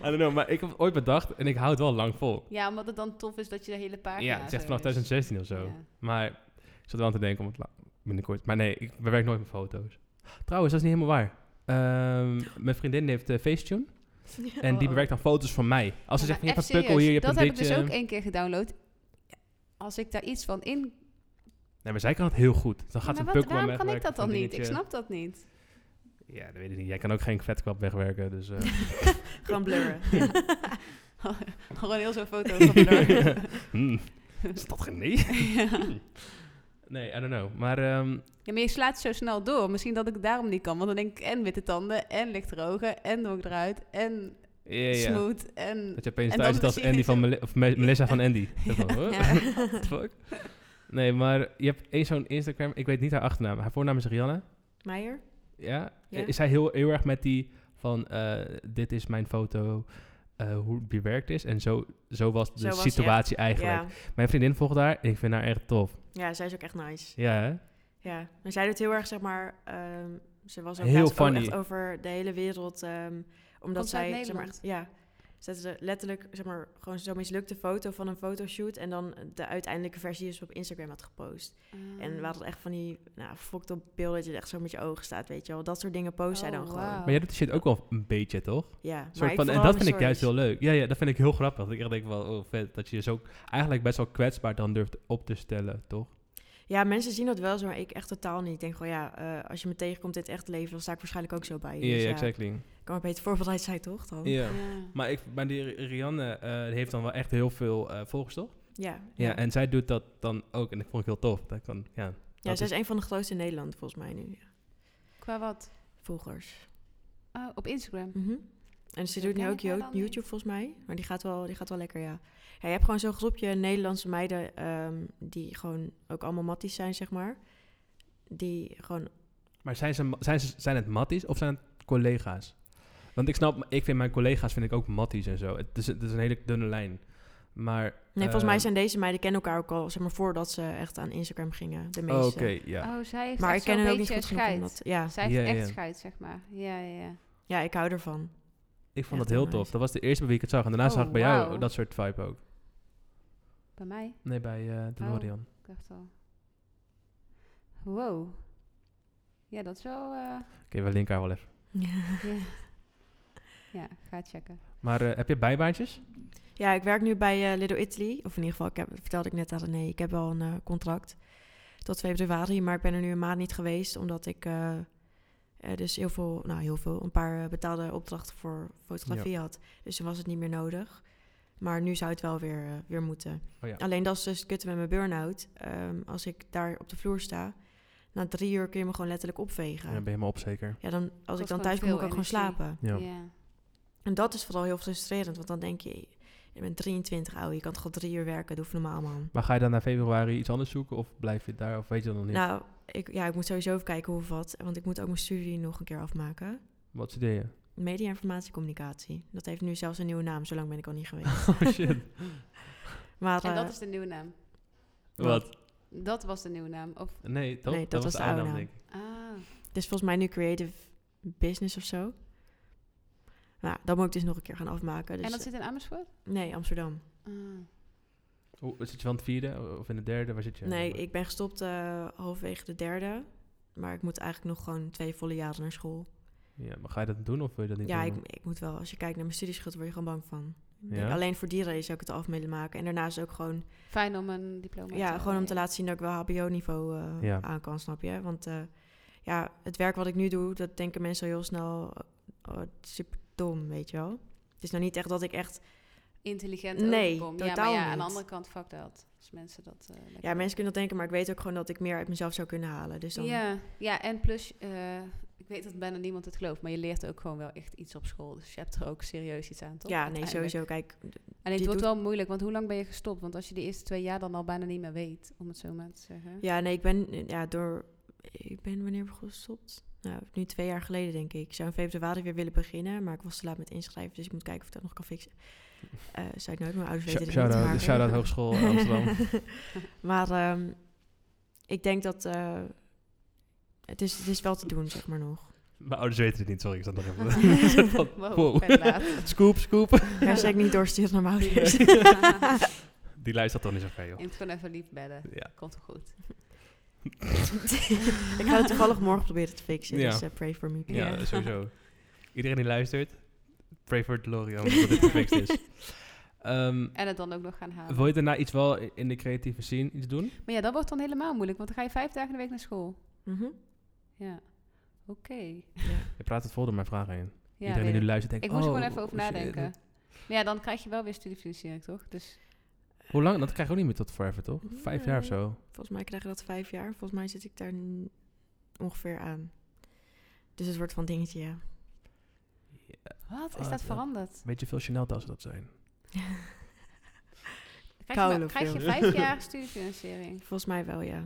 S2: I don't know, maar ik heb het ooit bedacht en ik hou het wel lang vol.
S3: Ja, omdat het dan tof is dat je de hele pagina...
S2: Ja, het is echt
S3: zo
S2: vanaf
S3: is.
S2: 2016 of zo.
S3: Ja.
S2: Maar ik zat wel aan te denken om het la- binnenkort... Maar nee, ik bewerk nooit met foto's. Trouwens, dat is niet helemaal waar.
S3: <laughs>
S2: Ehm, mijn vriendin heeft eh, Facetune en die bewerkt dan foto's van mij. Als ze
S3: Oh. Ja,
S2: zegt, van, je
S3: maar
S2: hebt een
S3: echt
S2: pukkel hier, je hebt
S3: serieus,
S2: een
S3: Dat heb ik
S2: ditje.
S3: dus ook één keer gedownload. Als ik daar iets van in
S2: Nee, maar zij kan het heel goed. Dan gaat
S3: maar
S2: ze een
S3: wat-
S2: pukkel aan
S3: waarom kan ik
S2: wegwerken
S3: dat dan
S2: van
S3: niet? Ik
S2: dingetje.
S3: snap dat niet.
S2: Ja, dat weet ik niet. Jij kan ook geen vetkwap wegwerken, dus... eh.
S1: <laughs> Gewoon
S2: <laughs>
S1: blurren.
S3: Gewoon heel zo'n foto van
S2: <laughs>
S3: Blur.
S2: Hmm. Is dat geen
S3: <laughs>
S2: nee? Hmm. Nee, I don't know. Maar ehm,
S3: Ja, maar je slaat zo snel door. Misschien dat ik het daarom niet kan. Want dan denk ik en witte tanden, en lichtere ogen, en doe ik eruit, en
S2: ja, ja.
S3: smooth, en...
S2: Dat je opeens
S3: En
S2: thuis
S3: dan
S2: zit als
S3: zie je
S2: Andy
S3: zo-
S2: van Mele- of Me- Melissa van
S3: <laughs>
S2: Andy. Zo van, huh?
S3: Ja.
S2: What the fuck? Nee, maar je hebt één zo'n Instagram. Ik weet niet haar achternaam. Haar voornaam is Rianne.
S1: Meijer?
S2: Ja.
S1: Ja.
S2: Is zij heel, heel erg met die van eh, dit is mijn foto, eh, hoe het bewerkt is. En zo, zo was de
S1: Zo was je.
S2: situatie eigenlijk.
S1: Ja.
S2: Mijn vriendin volgt haar en ik vind haar echt tof.
S1: ja, zij is ook echt nice.
S2: Ja, hè?
S1: Ja, maar zij doet heel erg, zeg maar... ehm, ze was ook
S2: Heel
S1: laatst ook
S2: funny.
S1: echt over de hele wereld. ehm, omdat
S3: Komt ze uit
S1: zij, zeg maar,
S3: Nederland?
S1: ja, zette ze letterlijk, zeg maar, gewoon zo'n mislukte foto van een fotoshoot. En dan de uiteindelijke versie is op Instagram had gepost.
S3: eh, Mm.
S1: En we hadden echt van die, nou, fokt op beelden dat je echt zo met je ogen staat, weet je wel. Dat soort dingen post zij
S3: Oh,
S1: dan gewoon.
S3: wauw.
S2: Maar jij doet die shit ook wel een beetje, toch?
S1: Ja, maar
S2: Soort
S1: ik
S2: van, en
S1: vooral
S2: dat vind ik
S1: mijn
S2: juist heel
S1: stories.
S2: leuk. Ja, ja, dat vind ik heel grappig. Dat ik echt denk wel, oh vet, dat je zo eigenlijk best wel kwetsbaar dan durft op te stellen, toch?
S1: Ja, mensen zien dat wel zo, maar ik echt totaal niet. Ik denk gewoon, ja, eh, als je me tegenkomt in het echt leven, dan sta ik waarschijnlijk ook zo bij je.
S2: Ja,
S1: Dus
S2: ja, exactly.
S1: Ik kan maar beter voorbereid zijn, toch? Dan?
S3: <laughs>
S2: Ja.
S3: Ja.
S2: Maar, ik, maar die Ri- Rianne eh, die heeft dan wel echt heel veel eh, volgers, toch?
S1: Ja,
S2: Ja, en zij doet dat dan ook. En dat vond ik heel tof. Dat kan, ja.
S1: Ja,
S2: Dat
S1: zij
S2: is-
S1: is een van de grootste in Nederland volgens mij nu. Ja.
S3: Qua wat?
S1: Volgers.
S3: Oh, op Instagram.
S1: Mhm. En ze
S3: Dat
S1: doet nu
S3: ken
S1: ook
S3: ik haar
S1: Yo-
S3: dan niet.
S1: YouTube volgens mij. Maar die gaat wel, die gaat wel lekker, ja. ja je hebt gewoon zo'n groepje Nederlandse meiden ehm, die gewoon ook allemaal matties zijn, zeg maar. Die gewoon...
S2: Maar zijn, ze, ma- zijn, ze, zijn het matties of zijn het collega's? Want ik snap, ik vind mijn collega's vind ik ook matties en zo. Het is, het is een hele dunne lijn. Maar...
S1: Nee, volgens mij
S2: eh,
S1: zijn deze meiden kennen elkaar ook al, zeg maar, voordat ze echt aan Instagram gingen. De
S2: oh,
S1: meeste.
S2: Oké, ja.
S3: Oh, zij heeft
S1: Maar ik
S3: echt
S1: ken
S3: zo'n
S1: hen ook niet
S3: beetje
S1: goed genoeg. om
S3: scheid.
S1: dat- ja,
S3: Zij heeft
S2: Ja, ja,
S3: echt
S2: ja.
S3: scheid, zeg maar. Ja, ja, ja.
S1: ja, ik hou ervan.
S3: <laughs>
S2: Ik vond
S1: Echt
S2: dat heel
S1: heel
S2: tof.
S1: nice.
S2: Dat was de eerste bij wie ik het zag. En daarna
S3: Oh,
S2: zag ik bij jou
S3: wauw.
S2: dat soort vibe ook.
S3: Bij mij?
S2: Nee, bij eh,
S1: Oh.
S2: de DeLorean.
S3: Ik dacht al. Wow. Ja, dat is wel... eh,
S2: Oké, we linken haar wel even.
S3: ja. ja, ga checken.
S2: Maar eh, heb je bijbaantjes?
S1: Ja, ik werk nu bij eh, Little Italy. Of in ieder geval, ik heb, vertelde ik net aan René, ik heb wel een eh, contract tot 2 februari. Maar ik ben er nu een maand niet geweest, omdat ik eh, eh, dus heel veel, nou heel veel, een paar eh, betaalde opdrachten voor fotografie had. Dus toen was het niet meer nodig. Maar nu zou het wel weer, eh, weer moeten.
S2: Oh ja.
S1: Alleen dat is dus het kutte met mijn burn-out. Ehm, als ik daar op de vloer sta, na drie uur kun je me gewoon letterlijk opvegen.
S2: Ja, ben je helemaal op zeker.
S1: Ja, dan, als ik
S3: kost
S1: dan
S3: gewoon
S1: thuis kom,
S3: veel
S1: moet ik ook gewoon
S3: energie.
S1: slapen.
S2: Ja.
S3: ja.
S1: En dat is vooral heel frustrerend, want dan denk je, je bent 23 ouwe, je kan toch al drie uur werken, doe even normaal man.
S2: Maar ga je dan na februari iets anders zoeken of blijf je daar of weet je dat nog niet?
S1: Nou, ik, ja, ik moet sowieso even kijken hoe of wat, want ik moet ook mijn studie nog een keer afmaken.
S2: Wat studeer je?
S1: Media informatiecommunicatie. Dat heeft nu zelfs een nieuwe naam, zo lang ben ik al niet geweest.
S2: <laughs> Oh shit.
S1: <laughs> Maar
S3: En
S1: eh,
S3: dat is de nieuwe naam.
S2: Wat?
S3: Dat was de nieuwe naam. Of,
S2: Nee, toch?
S1: Nee, dat was de oude naam.
S2: denk ik.
S3: ah,
S1: het is volgens mij nu creative business of zo. Nou, dat moet ik dus nog een keer gaan afmaken. Dus, eh,
S3: en dat zit in Amersfoort?
S1: Nee, Amsterdam.
S3: Ah.
S2: Hoe- zit je van het vierde of in het derde? Waar zit je?
S1: Nee, ik ben gestopt eh halverwege de derde. Maar ik moet eigenlijk nog gewoon twee volle jaren naar school.
S2: Ja, maar ga je dat doen of wil je dat niet
S1: Ja, ik,
S2: doen?
S1: ik moet wel. Als je kijkt naar mijn studieschuld, word je gewoon bang van. Ik denk,
S2: Ja?
S1: Alleen voor die reden zou ik het af willen maken. En daarnaast ook gewoon,
S3: Fijn om een diploma
S1: ja,
S3: te
S1: gewoon om te laten zien dat ik wel HBO-niveau eh,
S2: Ja.
S1: aan kan, snap je? Want eh, ja, het werk wat ik nu doe, dat denken mensen al heel snel eh, oh, super dom, weet je wel. Het is nou niet echt dat ik echt...
S3: Intelligent
S1: Nee,
S3: overkomt. Ja, maar
S1: totaal
S3: ja, aan
S1: niet.
S3: de andere kant, fuck dat. Als mensen dat... eh, lekker-
S1: Ja, mensen kunnen dat denken, maar ik weet ook gewoon dat ik meer uit mezelf zou kunnen halen. Dus dan,
S3: Ja, ja, en plus, eh, ik weet dat bijna niemand het gelooft, maar je leert ook gewoon wel echt iets op school. Dus je hebt er ook serieus iets aan, toch?
S1: ja nee,
S3: Uiteindelijk.
S1: sowieso. Kijk, d-
S3: En het
S1: Die
S3: wordt wel moeilijk, want hoe lang ben je gestopt? Want als je de eerste twee jaar dan al bijna niet meer weet, om het zo maar te zeggen. <laughs>
S1: ja, nee, ik ben eh, ja, door... Ik ben wanneer begon gestopt? Nou, nu twee jaar geleden, denk ik. Ik zou in februari weer willen beginnen, maar ik was te laat met inschrijven. Dus ik moet kijken of ik dat nog kan fixen. Eh zou ik nooit, mijn ouders weten
S2: Sh-
S1: dit niet. maar-
S2: Shout-out shout-out Hogeschool Amsterdam.
S1: <laughs> maar ehm, ik denk dat... eh, het, is, het is wel te doen, zeg maar nog.
S2: Mijn ouders weten het niet, sorry. Ik zat
S1: <laughs>
S2: <laughs> nog even... <laughs> Zo van,
S3: Wow,
S2: wow.
S3: vet
S2: <laughs>
S3: laat. <laughs>
S2: Scoop, scoop.
S1: Hashtag niet doorsturen naar mijn ouders.
S2: Die luistert toch niet zo ver, joh.
S3: Je moet gewoon even lief bellen.
S2: Ja.
S3: Komt wel goed.
S1: <laughs> ik ga het toevallig morgen proberen te fixen.
S2: Ja.
S1: Dus eh, pray for me. please.
S2: Ja,
S3: Ja.
S2: sowieso. <laughs> Iedereen die luistert, pray voor DeLorean, dat <laughs> dit gefixt is. Ehm,
S3: En het dan ook nog gaan halen.
S2: wil je daarna iets wel i- in de creatieve scene iets doen?
S3: Maar ja, dat wordt dan helemaal moeilijk, want dan ga je vijf dagen in de week naar school.
S1: Mhm.
S3: Ja. Oké.
S1: Ja.
S2: Je praat het vol door mijn vraag heen.
S3: Ja,
S2: Iedereen
S3: weet
S2: die
S3: ik.
S2: nu luistert denkt,
S3: ik moest er
S2: oh,
S3: gewoon even over
S2: shit.
S3: nadenken. Maar ja, dan krijg je wel weer studiefinanciering, toch? Dus
S2: Hoe lang? Dat krijg je ook niet meer tot forever, toch? Vijf jaar of
S1: Nee.
S2: zo.
S1: Volgens mij krijg je dat vijf jaar. Volgens mij zit ik daar n- ongeveer aan. Dus het wordt van dingetje, ja.
S3: wat is
S2: Ah,
S3: dat
S2: ja.
S3: veranderd?
S2: Weet je veel Chanel-tassen dat zijn?
S3: Krijg je, maar-
S1: Koude
S3: krijg je
S1: film. <laughs>
S3: vijf jaar studiefinanciering?
S1: Volgens mij wel, ja.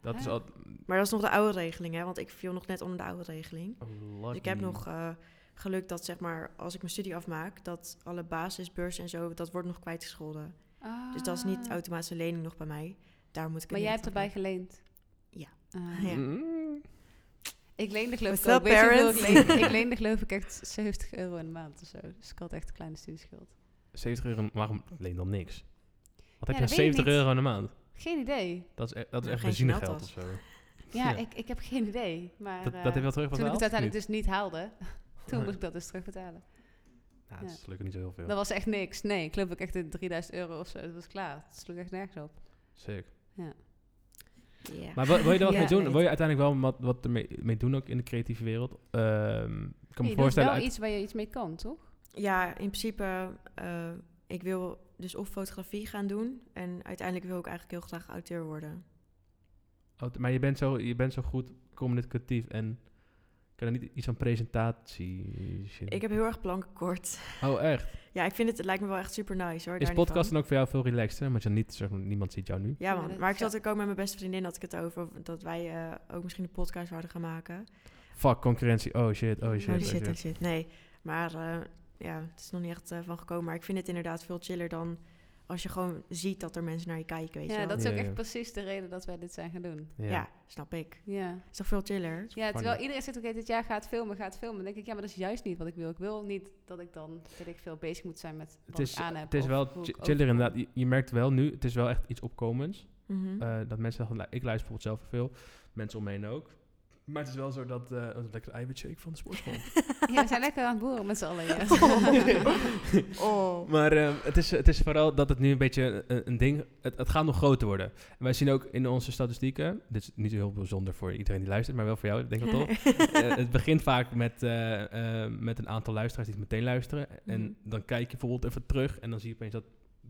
S2: Dat is
S3: Ah.
S2: al...
S1: Maar dat is nog de oude regeling, hè? Want ik viel nog net onder de oude regeling. Dus ik heb
S2: Lucky.
S1: nog eh, geluk dat, zeg maar, als ik mijn studie afmaak, dat alle basisbeurs en zo, dat wordt nog kwijtgescholden. Dus dat is niet
S3: Ah.
S1: automatische lening nog bij mij. Daar moet ik het
S3: Maar jij
S1: niet
S3: hebt erbij
S1: afmaken.
S3: geleend?
S1: Ja.
S3: Ah.
S1: Ja.
S2: Mm.
S3: Ik leende geloof ik
S1: What's
S3: ook.
S1: up,
S3: Weet je hoeveel
S1: parents?
S3: ik,
S1: <laughs>
S3: leende, ik leende geloof ik echt 70 euro in de maand of zo. Dus ik had echt een kleine studieschuld.
S2: 70 euro, waarom leen dan niks? Wat
S3: Ja,
S2: heb je
S3: dat
S2: aan
S3: weet ik
S2: 70
S3: niet.
S2: euro in de maand?
S3: Geen idee.
S2: Dat is, e- dat is
S1: Nou,
S2: echt
S1: geen
S2: benzinegeld of
S1: Chanel-tas.
S2: zo.
S3: Ja,
S2: Ja.
S3: Ik, ik heb geen idee. Maar
S2: Dat, dat
S3: eh,
S2: heb je wel terugbetaald?
S3: toen ik het
S2: of
S3: uiteindelijk
S2: niet?
S3: dus niet haalde, <laughs> toen
S2: Nee.
S3: moest ik dat dus terugbetalen.
S2: Nou, dat
S3: ja.
S2: is gelukkig niet zo heel veel.
S3: Dat was echt niks. Nee, ik geloof ik echt de 3000 euro of zo. Dat was klaar. Dat sloeg echt nergens op.
S2: Sick.
S1: Ja.
S2: Maar wil, wil je er wat
S3: Ja,
S2: mee doen?
S1: weet.
S2: Wil je uiteindelijk wel wat, wat ermee mee doen ook in de creatieve wereld? Ehm, ik kan
S3: Je
S2: me
S3: doet
S2: voorstellen...
S3: wel
S2: uit-
S3: iets waar je iets mee kan, toch?
S1: Ja, in principe, eh, ik wil dus of fotografie gaan doen. En uiteindelijk wil ik eigenlijk heel graag auteur worden.
S2: Oh, maar je bent, zo, je bent zo goed communicatief en... Kan er niet iets van presentatie... shit?
S1: Ik heb heel erg plankenkort.
S2: Oh, echt?
S1: <laughs> Ja, ik vind het, het lijkt me wel echt super nice hoor.
S2: Is
S1: daar niet
S2: podcast
S1: van.
S2: dan ook voor jou veel relaxter? Want je niet, zeg maar, niemand ziet jou nu.
S1: Ja,
S3: Ja,
S1: man.
S3: dat-
S1: Maar ik zat
S3: ja.
S1: ook met mijn beste vriendin had ik het over of- dat wij eh, ook misschien een podcast zouden gaan maken.
S2: Fuck, concurrentie. Oh shit, oh shit.
S1: oh
S2: oh,
S1: shit, oh shit. Nee, maar eh, ja, het is nog niet echt eh, van gekomen. Maar ik vind het inderdaad veel chiller dan als je gewoon ziet dat er mensen naar je kijken, weet je
S3: Ja,
S1: wel.
S3: dat is ook
S2: Ja, ja.
S3: echt precies de reden dat wij dit zijn gaan doen.
S2: Ja.
S1: ja. snap ik.
S3: Ja.
S1: is toch veel chiller?
S3: Ja, terwijl
S2: Spannend.
S3: iedereen zegt, oké, dit jaar gaat filmen, gaat filmen. Dan denk ik, ja, maar dat is juist niet wat ik wil. Ik wil niet dat ik dan, weet ik veel, bezig moet zijn met wat
S2: Het is,
S3: ik aan heb.
S2: het is
S3: of
S2: wel
S3: hoe
S2: chi-
S3: ik
S2: chiller
S3: overkom.
S2: inderdaad. Je, je merkt wel nu, het is wel echt iets opkomends.
S1: Mhm.
S2: nou, Eh, dat mensen, zeggen, ik luister bijvoorbeeld zelf veel, mensen om me heen ook. Maar het is wel zo dat eh een lekkere eiwitshake van de sportschool.
S3: Ja, we zijn lekker aan het boeren met z'n allen.
S2: <laughs>
S3: <laughs> <laughs> ja.
S1: <laughs> Oh.
S2: Maar ehm, het, is, het is vooral dat het nu een beetje eh, een, een ding... Het, het gaat nog groter worden. En wij zien ook in onze statistieken... Dit is niet heel bijzonder voor iedereen die luistert, maar wel voor jou, denk ik
S3: <laughs>
S2: wel toch?
S1: <laughs>
S2: Eh, het begint vaak met, eh, eh, met een aantal luisteraars die het meteen luisteren. En
S1: Mhm.
S2: dan kijk je bijvoorbeeld even terug en dan zie je opeens dat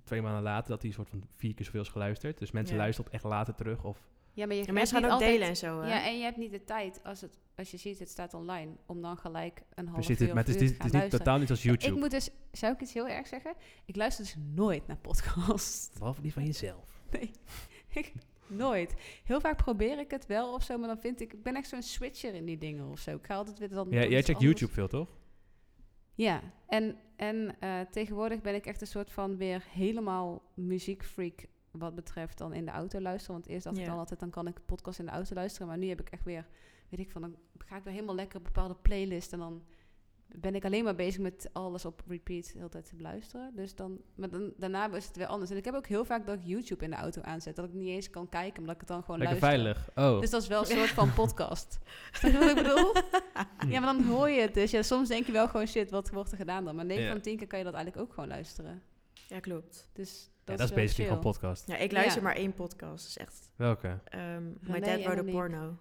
S2: twee maanden later dat hij een soort van vier keer zoveel is geluisterd. Dus mensen
S1: Ja.
S2: luisteren echt later terug. Of
S3: Ja, maar je
S1: Ja,
S3: hebt
S1: mensen
S3: niet
S1: gaan ook
S3: altijd-
S1: delen en zo. hè?
S3: Ja, en je hebt niet de tijd als, het, als je ziet het staat online om dan gelijk een half
S2: precies,
S3: uur
S2: dit- maar het is, niet- het is niet, totaal niet als YouTube.
S3: Ik moet dus, zou ik iets heel erg zeggen? Ik luister dus nooit naar podcasts.
S2: Behalve die van jezelf.
S3: Ik- <laughs> nooit. Heel vaak probeer ik het wel of zo, maar dan vind ik, ik ben echt zo'n switcher in die dingen of zo. Ik ga altijd weer dan.
S2: Ja,
S3: dan
S2: jij checkt
S3: iets anders.
S2: YouTube veel, toch?
S3: Ja, en, en eh, tegenwoordig ben ik echt een soort van weer helemaal muziekfreak wat betreft dan in de auto luisteren. Want eerst dacht ik
S1: Ja.
S3: dan altijd, dan kan ik podcast in de auto luisteren. Maar nu heb ik echt weer, weet ik van, dan ga ik weer helemaal lekker op bepaalde playlist. En dan ben ik alleen maar bezig met alles op repeat de hele tijd te beluisteren. Dus dan, maar dan, daarna is het weer anders. En ik heb ook heel vaak dat ik YouTube in de auto aanzet. Dat ik niet eens kan kijken, omdat ik het dan gewoon
S2: Lekker
S3: luister.
S2: veilig. Oh,
S3: Dus dat is wel een soort
S2: <laughs>
S3: van podcast. Snap je wat ik bedoel?
S2: Hm.
S3: Ja, maar dan hoor je het dus. Ja, soms denk je wel gewoon shit, wat wordt er gedaan dan? Maar 9
S2: Ja.
S3: van 10 keer kan je dat eigenlijk ook gewoon luisteren.
S1: Ja, klopt.
S3: Dus dat
S2: ja, dat
S3: is,
S2: is
S3: wel
S2: basically
S3: chill.
S2: gewoon podcast.
S1: Ja, ik luister
S3: Ja.
S1: maar één podcast. Dat is echt
S2: Welke?
S1: ehm My
S3: René
S1: Dad
S3: en
S1: Wrote a
S3: Monique.
S1: Porno.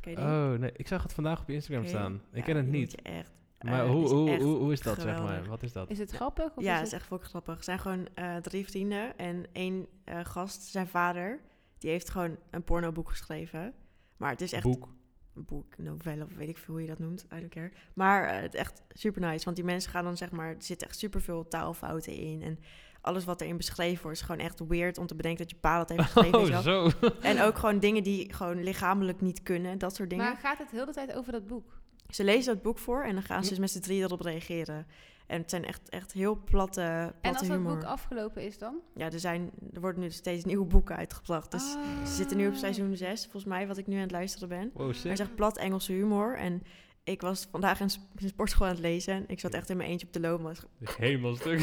S1: Ken je die?
S2: Oh, nee. Ik zag het vandaag op je Instagram
S1: Oké.
S2: staan. Ik
S1: Ja,
S2: ken het
S1: die
S2: niet.
S1: moet je echt.
S2: Maar
S1: eh,
S2: hoe,
S1: is
S2: hoe,
S1: echt
S2: hoe, hoe is dat, zeg maar?
S1: geweldig.
S2: Wat is dat?
S3: Is het grappig? Of
S1: ja,
S3: is
S1: het is echt fucking grappig. Er zijn gewoon eh, drie vrienden en één eh, gast, zijn vader, die heeft gewoon een pornoboek geschreven. Maar het is echt
S2: Boek.
S1: een boek, novelle, of weet ik veel hoe je dat noemt, I don't care. Maar eh, het is echt super nice, want die mensen gaan dan zeg maar, er zitten echt super veel taalfouten in en alles wat erin beschreven wordt is gewoon echt weird om te bedenken dat je pa
S2: <laughs>
S1: dat heeft geschreven. weet je
S2: Oh,
S1: wel.
S2: zo.
S1: En ook gewoon dingen die gewoon lichamelijk niet kunnen, dat soort dingen.
S3: Maar gaat het heel de tijd over dat boek?
S1: Ze lezen dat boek voor en dan gaan ze dus met z'n drieën erop reageren. En het zijn echt, echt heel platte,
S3: En
S1: platte
S3: als dat
S1: humor.
S3: boek afgelopen is dan?
S1: Ja, er, zijn, er worden nu steeds nieuwe boeken uitgebracht. Dus
S3: Ah.
S1: ze zitten nu op seizoen 6, volgens mij, wat ik nu aan het luisteren ben.
S2: Wow,
S1: Hij <laughs>
S2: sick.
S1: zegt plat Engelse humor. En ik was vandaag in sp- in de sportschool aan het lezen. En ik zat echt in mijn eentje op de loop. was
S2: Helemaal stuk.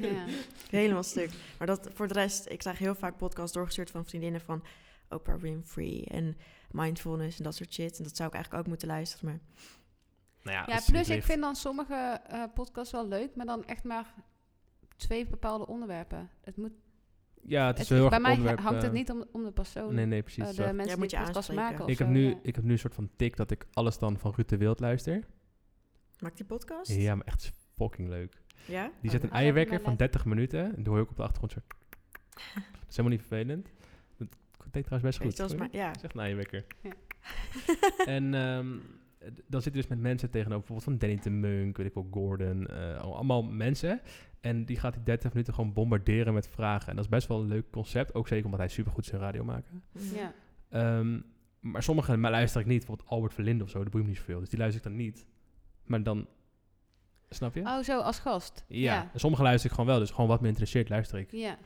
S3: Ja.
S1: helemaal stuk. Maar dat voor de rest, ik krijg heel vaak podcasts doorgestuurd van vriendinnen van Oprah Winfrey en mindfulness en dat soort shit. En dat zou ik eigenlijk ook moeten luisteren. Maar
S2: Nou ja, als
S3: ja,
S2: je niet
S3: plus ik
S2: ligt.
S3: vind dan sommige eh, podcasts wel leuk, maar dan echt maar twee bepaalde onderwerpen. Het moet,
S2: Ja, het is
S3: het-
S2: heel erg
S3: bij mij
S2: onderwerp,
S3: hangt het
S2: eh,
S3: niet om, om de persoon,
S2: Nee, nee,
S3: eh,
S2: precies. dat.
S3: de
S1: Ja,
S3: mensen
S1: moet
S3: die
S1: je
S3: podcasts
S1: aanspreken.
S3: maken of
S2: ik, heb
S3: zo,
S2: nu,
S3: ja.
S2: ik heb nu een soort van tik dat ik alles dan van Ruud de Wild luister.
S1: maakt die podcast?
S2: Ja, maar echt fucking leuk.
S1: Ja?
S2: Die zet een
S3: Ah, dat heb ik
S2: eierwekker
S3: wel
S2: van
S3: laat-
S2: 30 minuten. En dan hoor je ook op de achtergrond zo... <laughs> Dat is helemaal niet vervelend. Dat klinkt trouwens best goed.
S1: Weet je, dat is
S2: hoor.
S1: maar, ja.
S2: Dat is echt een eierwekker.
S3: Ja.
S2: nou <laughs> en ehm, d- dan zit je dus met mensen tegenover. Bijvoorbeeld van Danny de Munk, weet ik wel, Gordon. eh, allemaal mensen. En die gaat die 30 minuten gewoon bombarderen met vragen. En dat is best wel een leuk concept. Ook zeker omdat hij supergoed zijn radio maakt.
S3: Ja.
S2: Ehm, maar sommige maar luister ik niet. Bijvoorbeeld Albert Verlinde of zo, dat boeit me niet zoveel. Dus die luister ik dan niet. Maar dan... Snap je?
S3: Oh, zo, als gast.
S2: ja. En Sommige luister ik gewoon wel. Dus gewoon wat me interesseert, luister ik.
S3: Ja.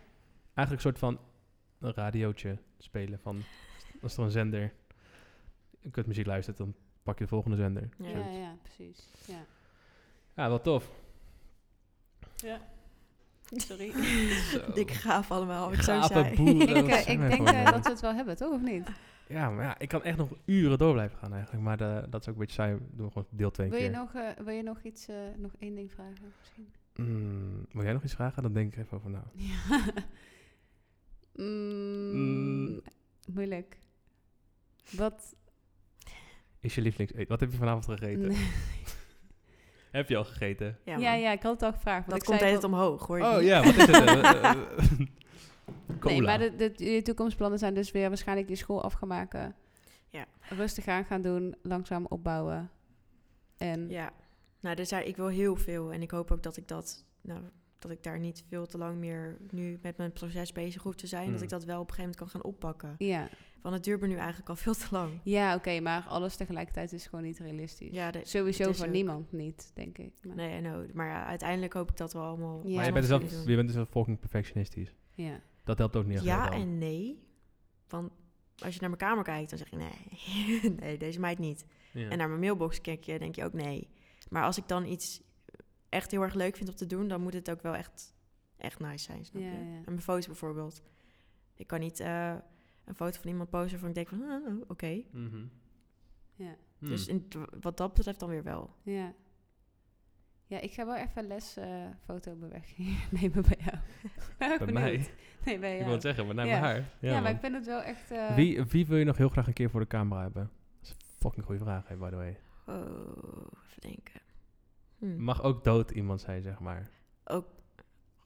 S2: Eigenlijk een soort van een radiootje spelen. Van, als er een zender kutmuziek luistert, dan pak je de volgende zender.
S1: Ja.
S3: Ja, ja, precies. Ja.
S2: Ja, wel tof. <laughs>
S3: Sorry. <laughs>
S1: Ik gaaf allemaal, ik zo
S2: Gapen,
S1: zei. <laughs>
S2: boeren,
S3: ik,
S2: wat
S3: eh,
S2: zijn
S3: ik
S2: wij
S3: denk
S2: voor
S3: eh,
S2: mensen?
S3: dat we het wel hebben, toch? Of niet?
S2: Ja, maar ja, ik kan echt nog uren door blijven gaan eigenlijk. Maar eh, dat is ook een beetje saai. Doen we gewoon deel 2
S3: Wil
S2: keer.
S3: je, nog, eh, wil je nog iets, eh, nog één ding vragen? Misschien.
S2: Mm, wil jij nog iets vragen? Dan denk ik even over na.
S3: Ja. <laughs> Mm,
S2: Mm.
S3: Moeilijk. Wat?
S2: Is je lievelingseten? Wat heb je vanavond
S3: <laughs>
S2: gegeten?
S3: Nee.
S2: Heb je al gegeten?
S1: Ja,
S3: Ja,
S1: man.
S3: ja, ik had het al gevraagd. want
S1: Dat
S3: ik
S1: komt de
S3: zei
S1: hele tijd
S3: van-
S1: omhoog, hoor je
S2: Oh
S1: niet?
S2: ja, wat is
S3: <laughs>
S2: het? Eh, eh, eh, cola.
S3: Nee, maar de, de, je toekomstplannen zijn dus weer waarschijnlijk je school afgemaken.
S1: Ja.
S3: Rustig aan gaan doen, langzaam opbouwen. En
S1: Ja, nou, er zijn, ik wil heel veel en ik hoop ook dat ik dat, nou, dat ik daar niet veel te lang meer nu met mijn proces bezig hoef te zijn, dat
S2: Mm.
S1: ik dat wel op een gegeven moment kan gaan oppakken.
S3: ja,
S1: Want het duurt me nu eigenlijk al veel te lang.
S3: ja oké, maar alles tegelijkertijd is gewoon niet realistisch.
S1: Ja, de-
S3: Sowieso
S1: het is
S3: voor
S1: ook-
S3: niemand niet, denk ik. Maar,
S1: nee, no, maar ja, uiteindelijk hoop ik dat wel allemaal.
S3: Ja.
S2: maar je
S1: allemaal
S2: bent, dus
S1: kunnen
S2: wel,
S1: doen.
S2: je bent dus wel fucking perfectionistisch.
S3: Ja.
S2: Dat helpt ook niet echt
S1: ja
S2: heel veel.
S1: en nee, want als je naar mijn kamer kijkt, dan zeg je nee, <laughs> nee, deze meid niet.
S2: Ja.
S1: En naar mijn mailbox kijk je, denk je ook nee. Maar als ik dan iets echt heel erg leuk vind om te doen, dan moet het ook wel echt, echt nice zijn, snap
S3: Ja,
S1: je?
S3: ja.
S1: En mijn foto's bijvoorbeeld. Ik
S3: Hmm.
S1: kan niet eh, een foto van iemand posten waarvan ik denk van, ah, oké.
S2: Mhm.
S3: Ja.
S2: Hmm.
S1: oh, Dus in, wat dat betreft dan weer wel.
S3: Ja. Ja, ik ga wel even les eh foto <laughs> nemen bij jou.
S2: <laughs>
S3: Ben
S2: bij
S3: benieuwd.
S2: mij.
S3: Nee, bij
S2: Ik
S3: jou.
S2: wil het zeggen, maar naar
S3: Ja.
S2: mijn haar. Ja,
S3: ja, maar
S2: man.
S3: ik vind het wel echt... eh,
S2: wie, wie wil je nog heel graag een keer voor de camera hebben? Dat is een fucking goede vraag, hè, by the way.
S1: Oh, even denken. Hm.
S2: Mag ook dood iemand zijn, zeg maar.
S1: Ook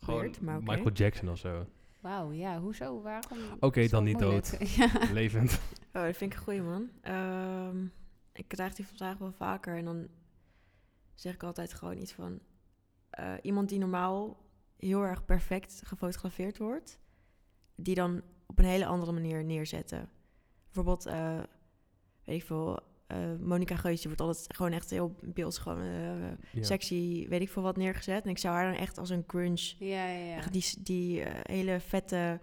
S2: Gewoon
S1: Weird, maar oké.
S2: Michael Jackson of
S1: <laughs>
S2: zo.
S3: Wauw, ja, hoezo? Waarom?
S2: Oké,
S3: is
S2: dan
S3: wel
S2: niet
S3: moeilijk. <laughs> ja.
S2: Levend.
S1: Oh, dat vind ik een goeie man. Ehm, ik krijg die vraag wel vaker en dan zeg ik altijd gewoon iets van eh, iemand die normaal heel erg perfect gefotografeerd wordt, die dan op een hele andere manier neerzetten. Bijvoorbeeld, eh, weet ik veel, eh Monica Geusje wordt altijd gewoon echt heel beeldschoon, eh,
S2: Ja.
S1: sexy, weet ik veel wat neergezet. En ik zou haar dan echt als een grunge,
S3: ja, ja, ja.
S1: echt die, die eh, hele vette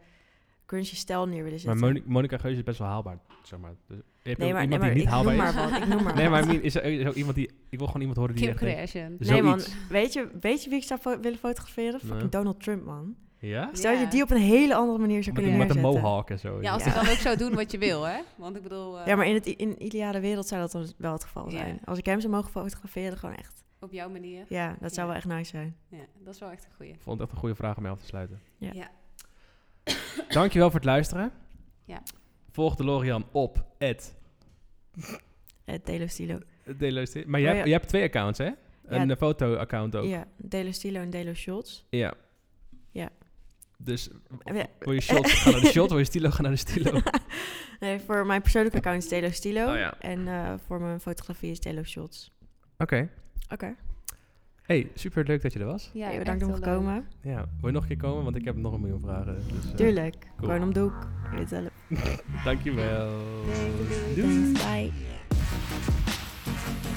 S1: grunge stijl neer willen
S2: Maar
S1: zetten.
S2: Moni- Monica Geuze is best wel haalbaar, zeg maar. Dus, heb je
S1: Nee,
S2: ook
S1: maar,
S2: iemand
S1: nee, maar
S2: die niet
S1: ik
S2: haalbaar
S1: noem
S2: is?
S1: maar wat, ik noem maar
S2: <laughs> Nee, maar
S1: wat.
S2: I mean, is er, is er ook iemand die... Ik wil gewoon iemand horen die
S3: Kim
S2: echt... denkt-
S3: Kardashian.
S2: Dus-
S1: Nee man,
S2: Zoiets.
S1: weet je, weet je wie ik zou fo- willen fotograferen?
S2: Nee.
S1: Fucking Donald Trump man.
S2: Ja?
S3: Ja.
S1: Stel je die op een hele andere manier zou
S2: Met,
S1: kunnen
S2: een- met een
S1: neerzetten.
S2: mohawk en zo.
S3: Ja, als
S1: Ja.
S3: ze dan ook zou doen wat je wil, hè? Want ik bedoel, eh,
S1: Ja, maar in, het, i- in de ideale wereld zou dat dan wel het geval
S3: Ja.
S1: zijn. Als ik hem zou mogen fotograferen, gewoon echt.
S3: op jouw manier.
S1: Ja, dat zou
S3: Ja.
S1: wel echt nice zijn.
S3: Ja, dat is wel echt een goeie.
S2: Ik vond het echt een goede vraag om mee af te sluiten.
S1: Ja.
S3: Ja.
S2: Dankjewel voor het luisteren.
S3: Ja.
S2: Volg de Lorian op het
S1: Eh, Delo Stilo.
S2: Maar jij,
S1: Oh ja.
S2: jij hebt twee accounts, hè? Een eh, foto-account ook. Ja.
S1: Ja, Delo Stilo en Delo Shots. Ja.
S2: Dus
S1: Ja.
S2: wil je shots, ga naar de shot. Wil je stilo, ga naar de
S1: <laughs>
S2: stilo.
S1: nee, voor mijn persoonlijke account is Delo Stilo.
S2: Oh ja.
S1: En eh, voor mijn fotografie is Delo Shots.
S2: Oké.
S1: Oké,
S2: Hey, super leuk dat je er was.
S3: Ja,
S1: Hey,
S3: echt
S1: bedankt om
S3: heel
S1: gekomen.
S3: leuk.
S2: Ja, wil je nog een keer komen? Want ik heb nog een miljoen vragen. Dus, eh,
S1: Tuurlijk.
S2: cool.
S1: Gewoon om de hoek. Je weet wel.
S2: <laughs> Dankjewel.
S3: Doei, doei, doei.
S1: Thanks, bye.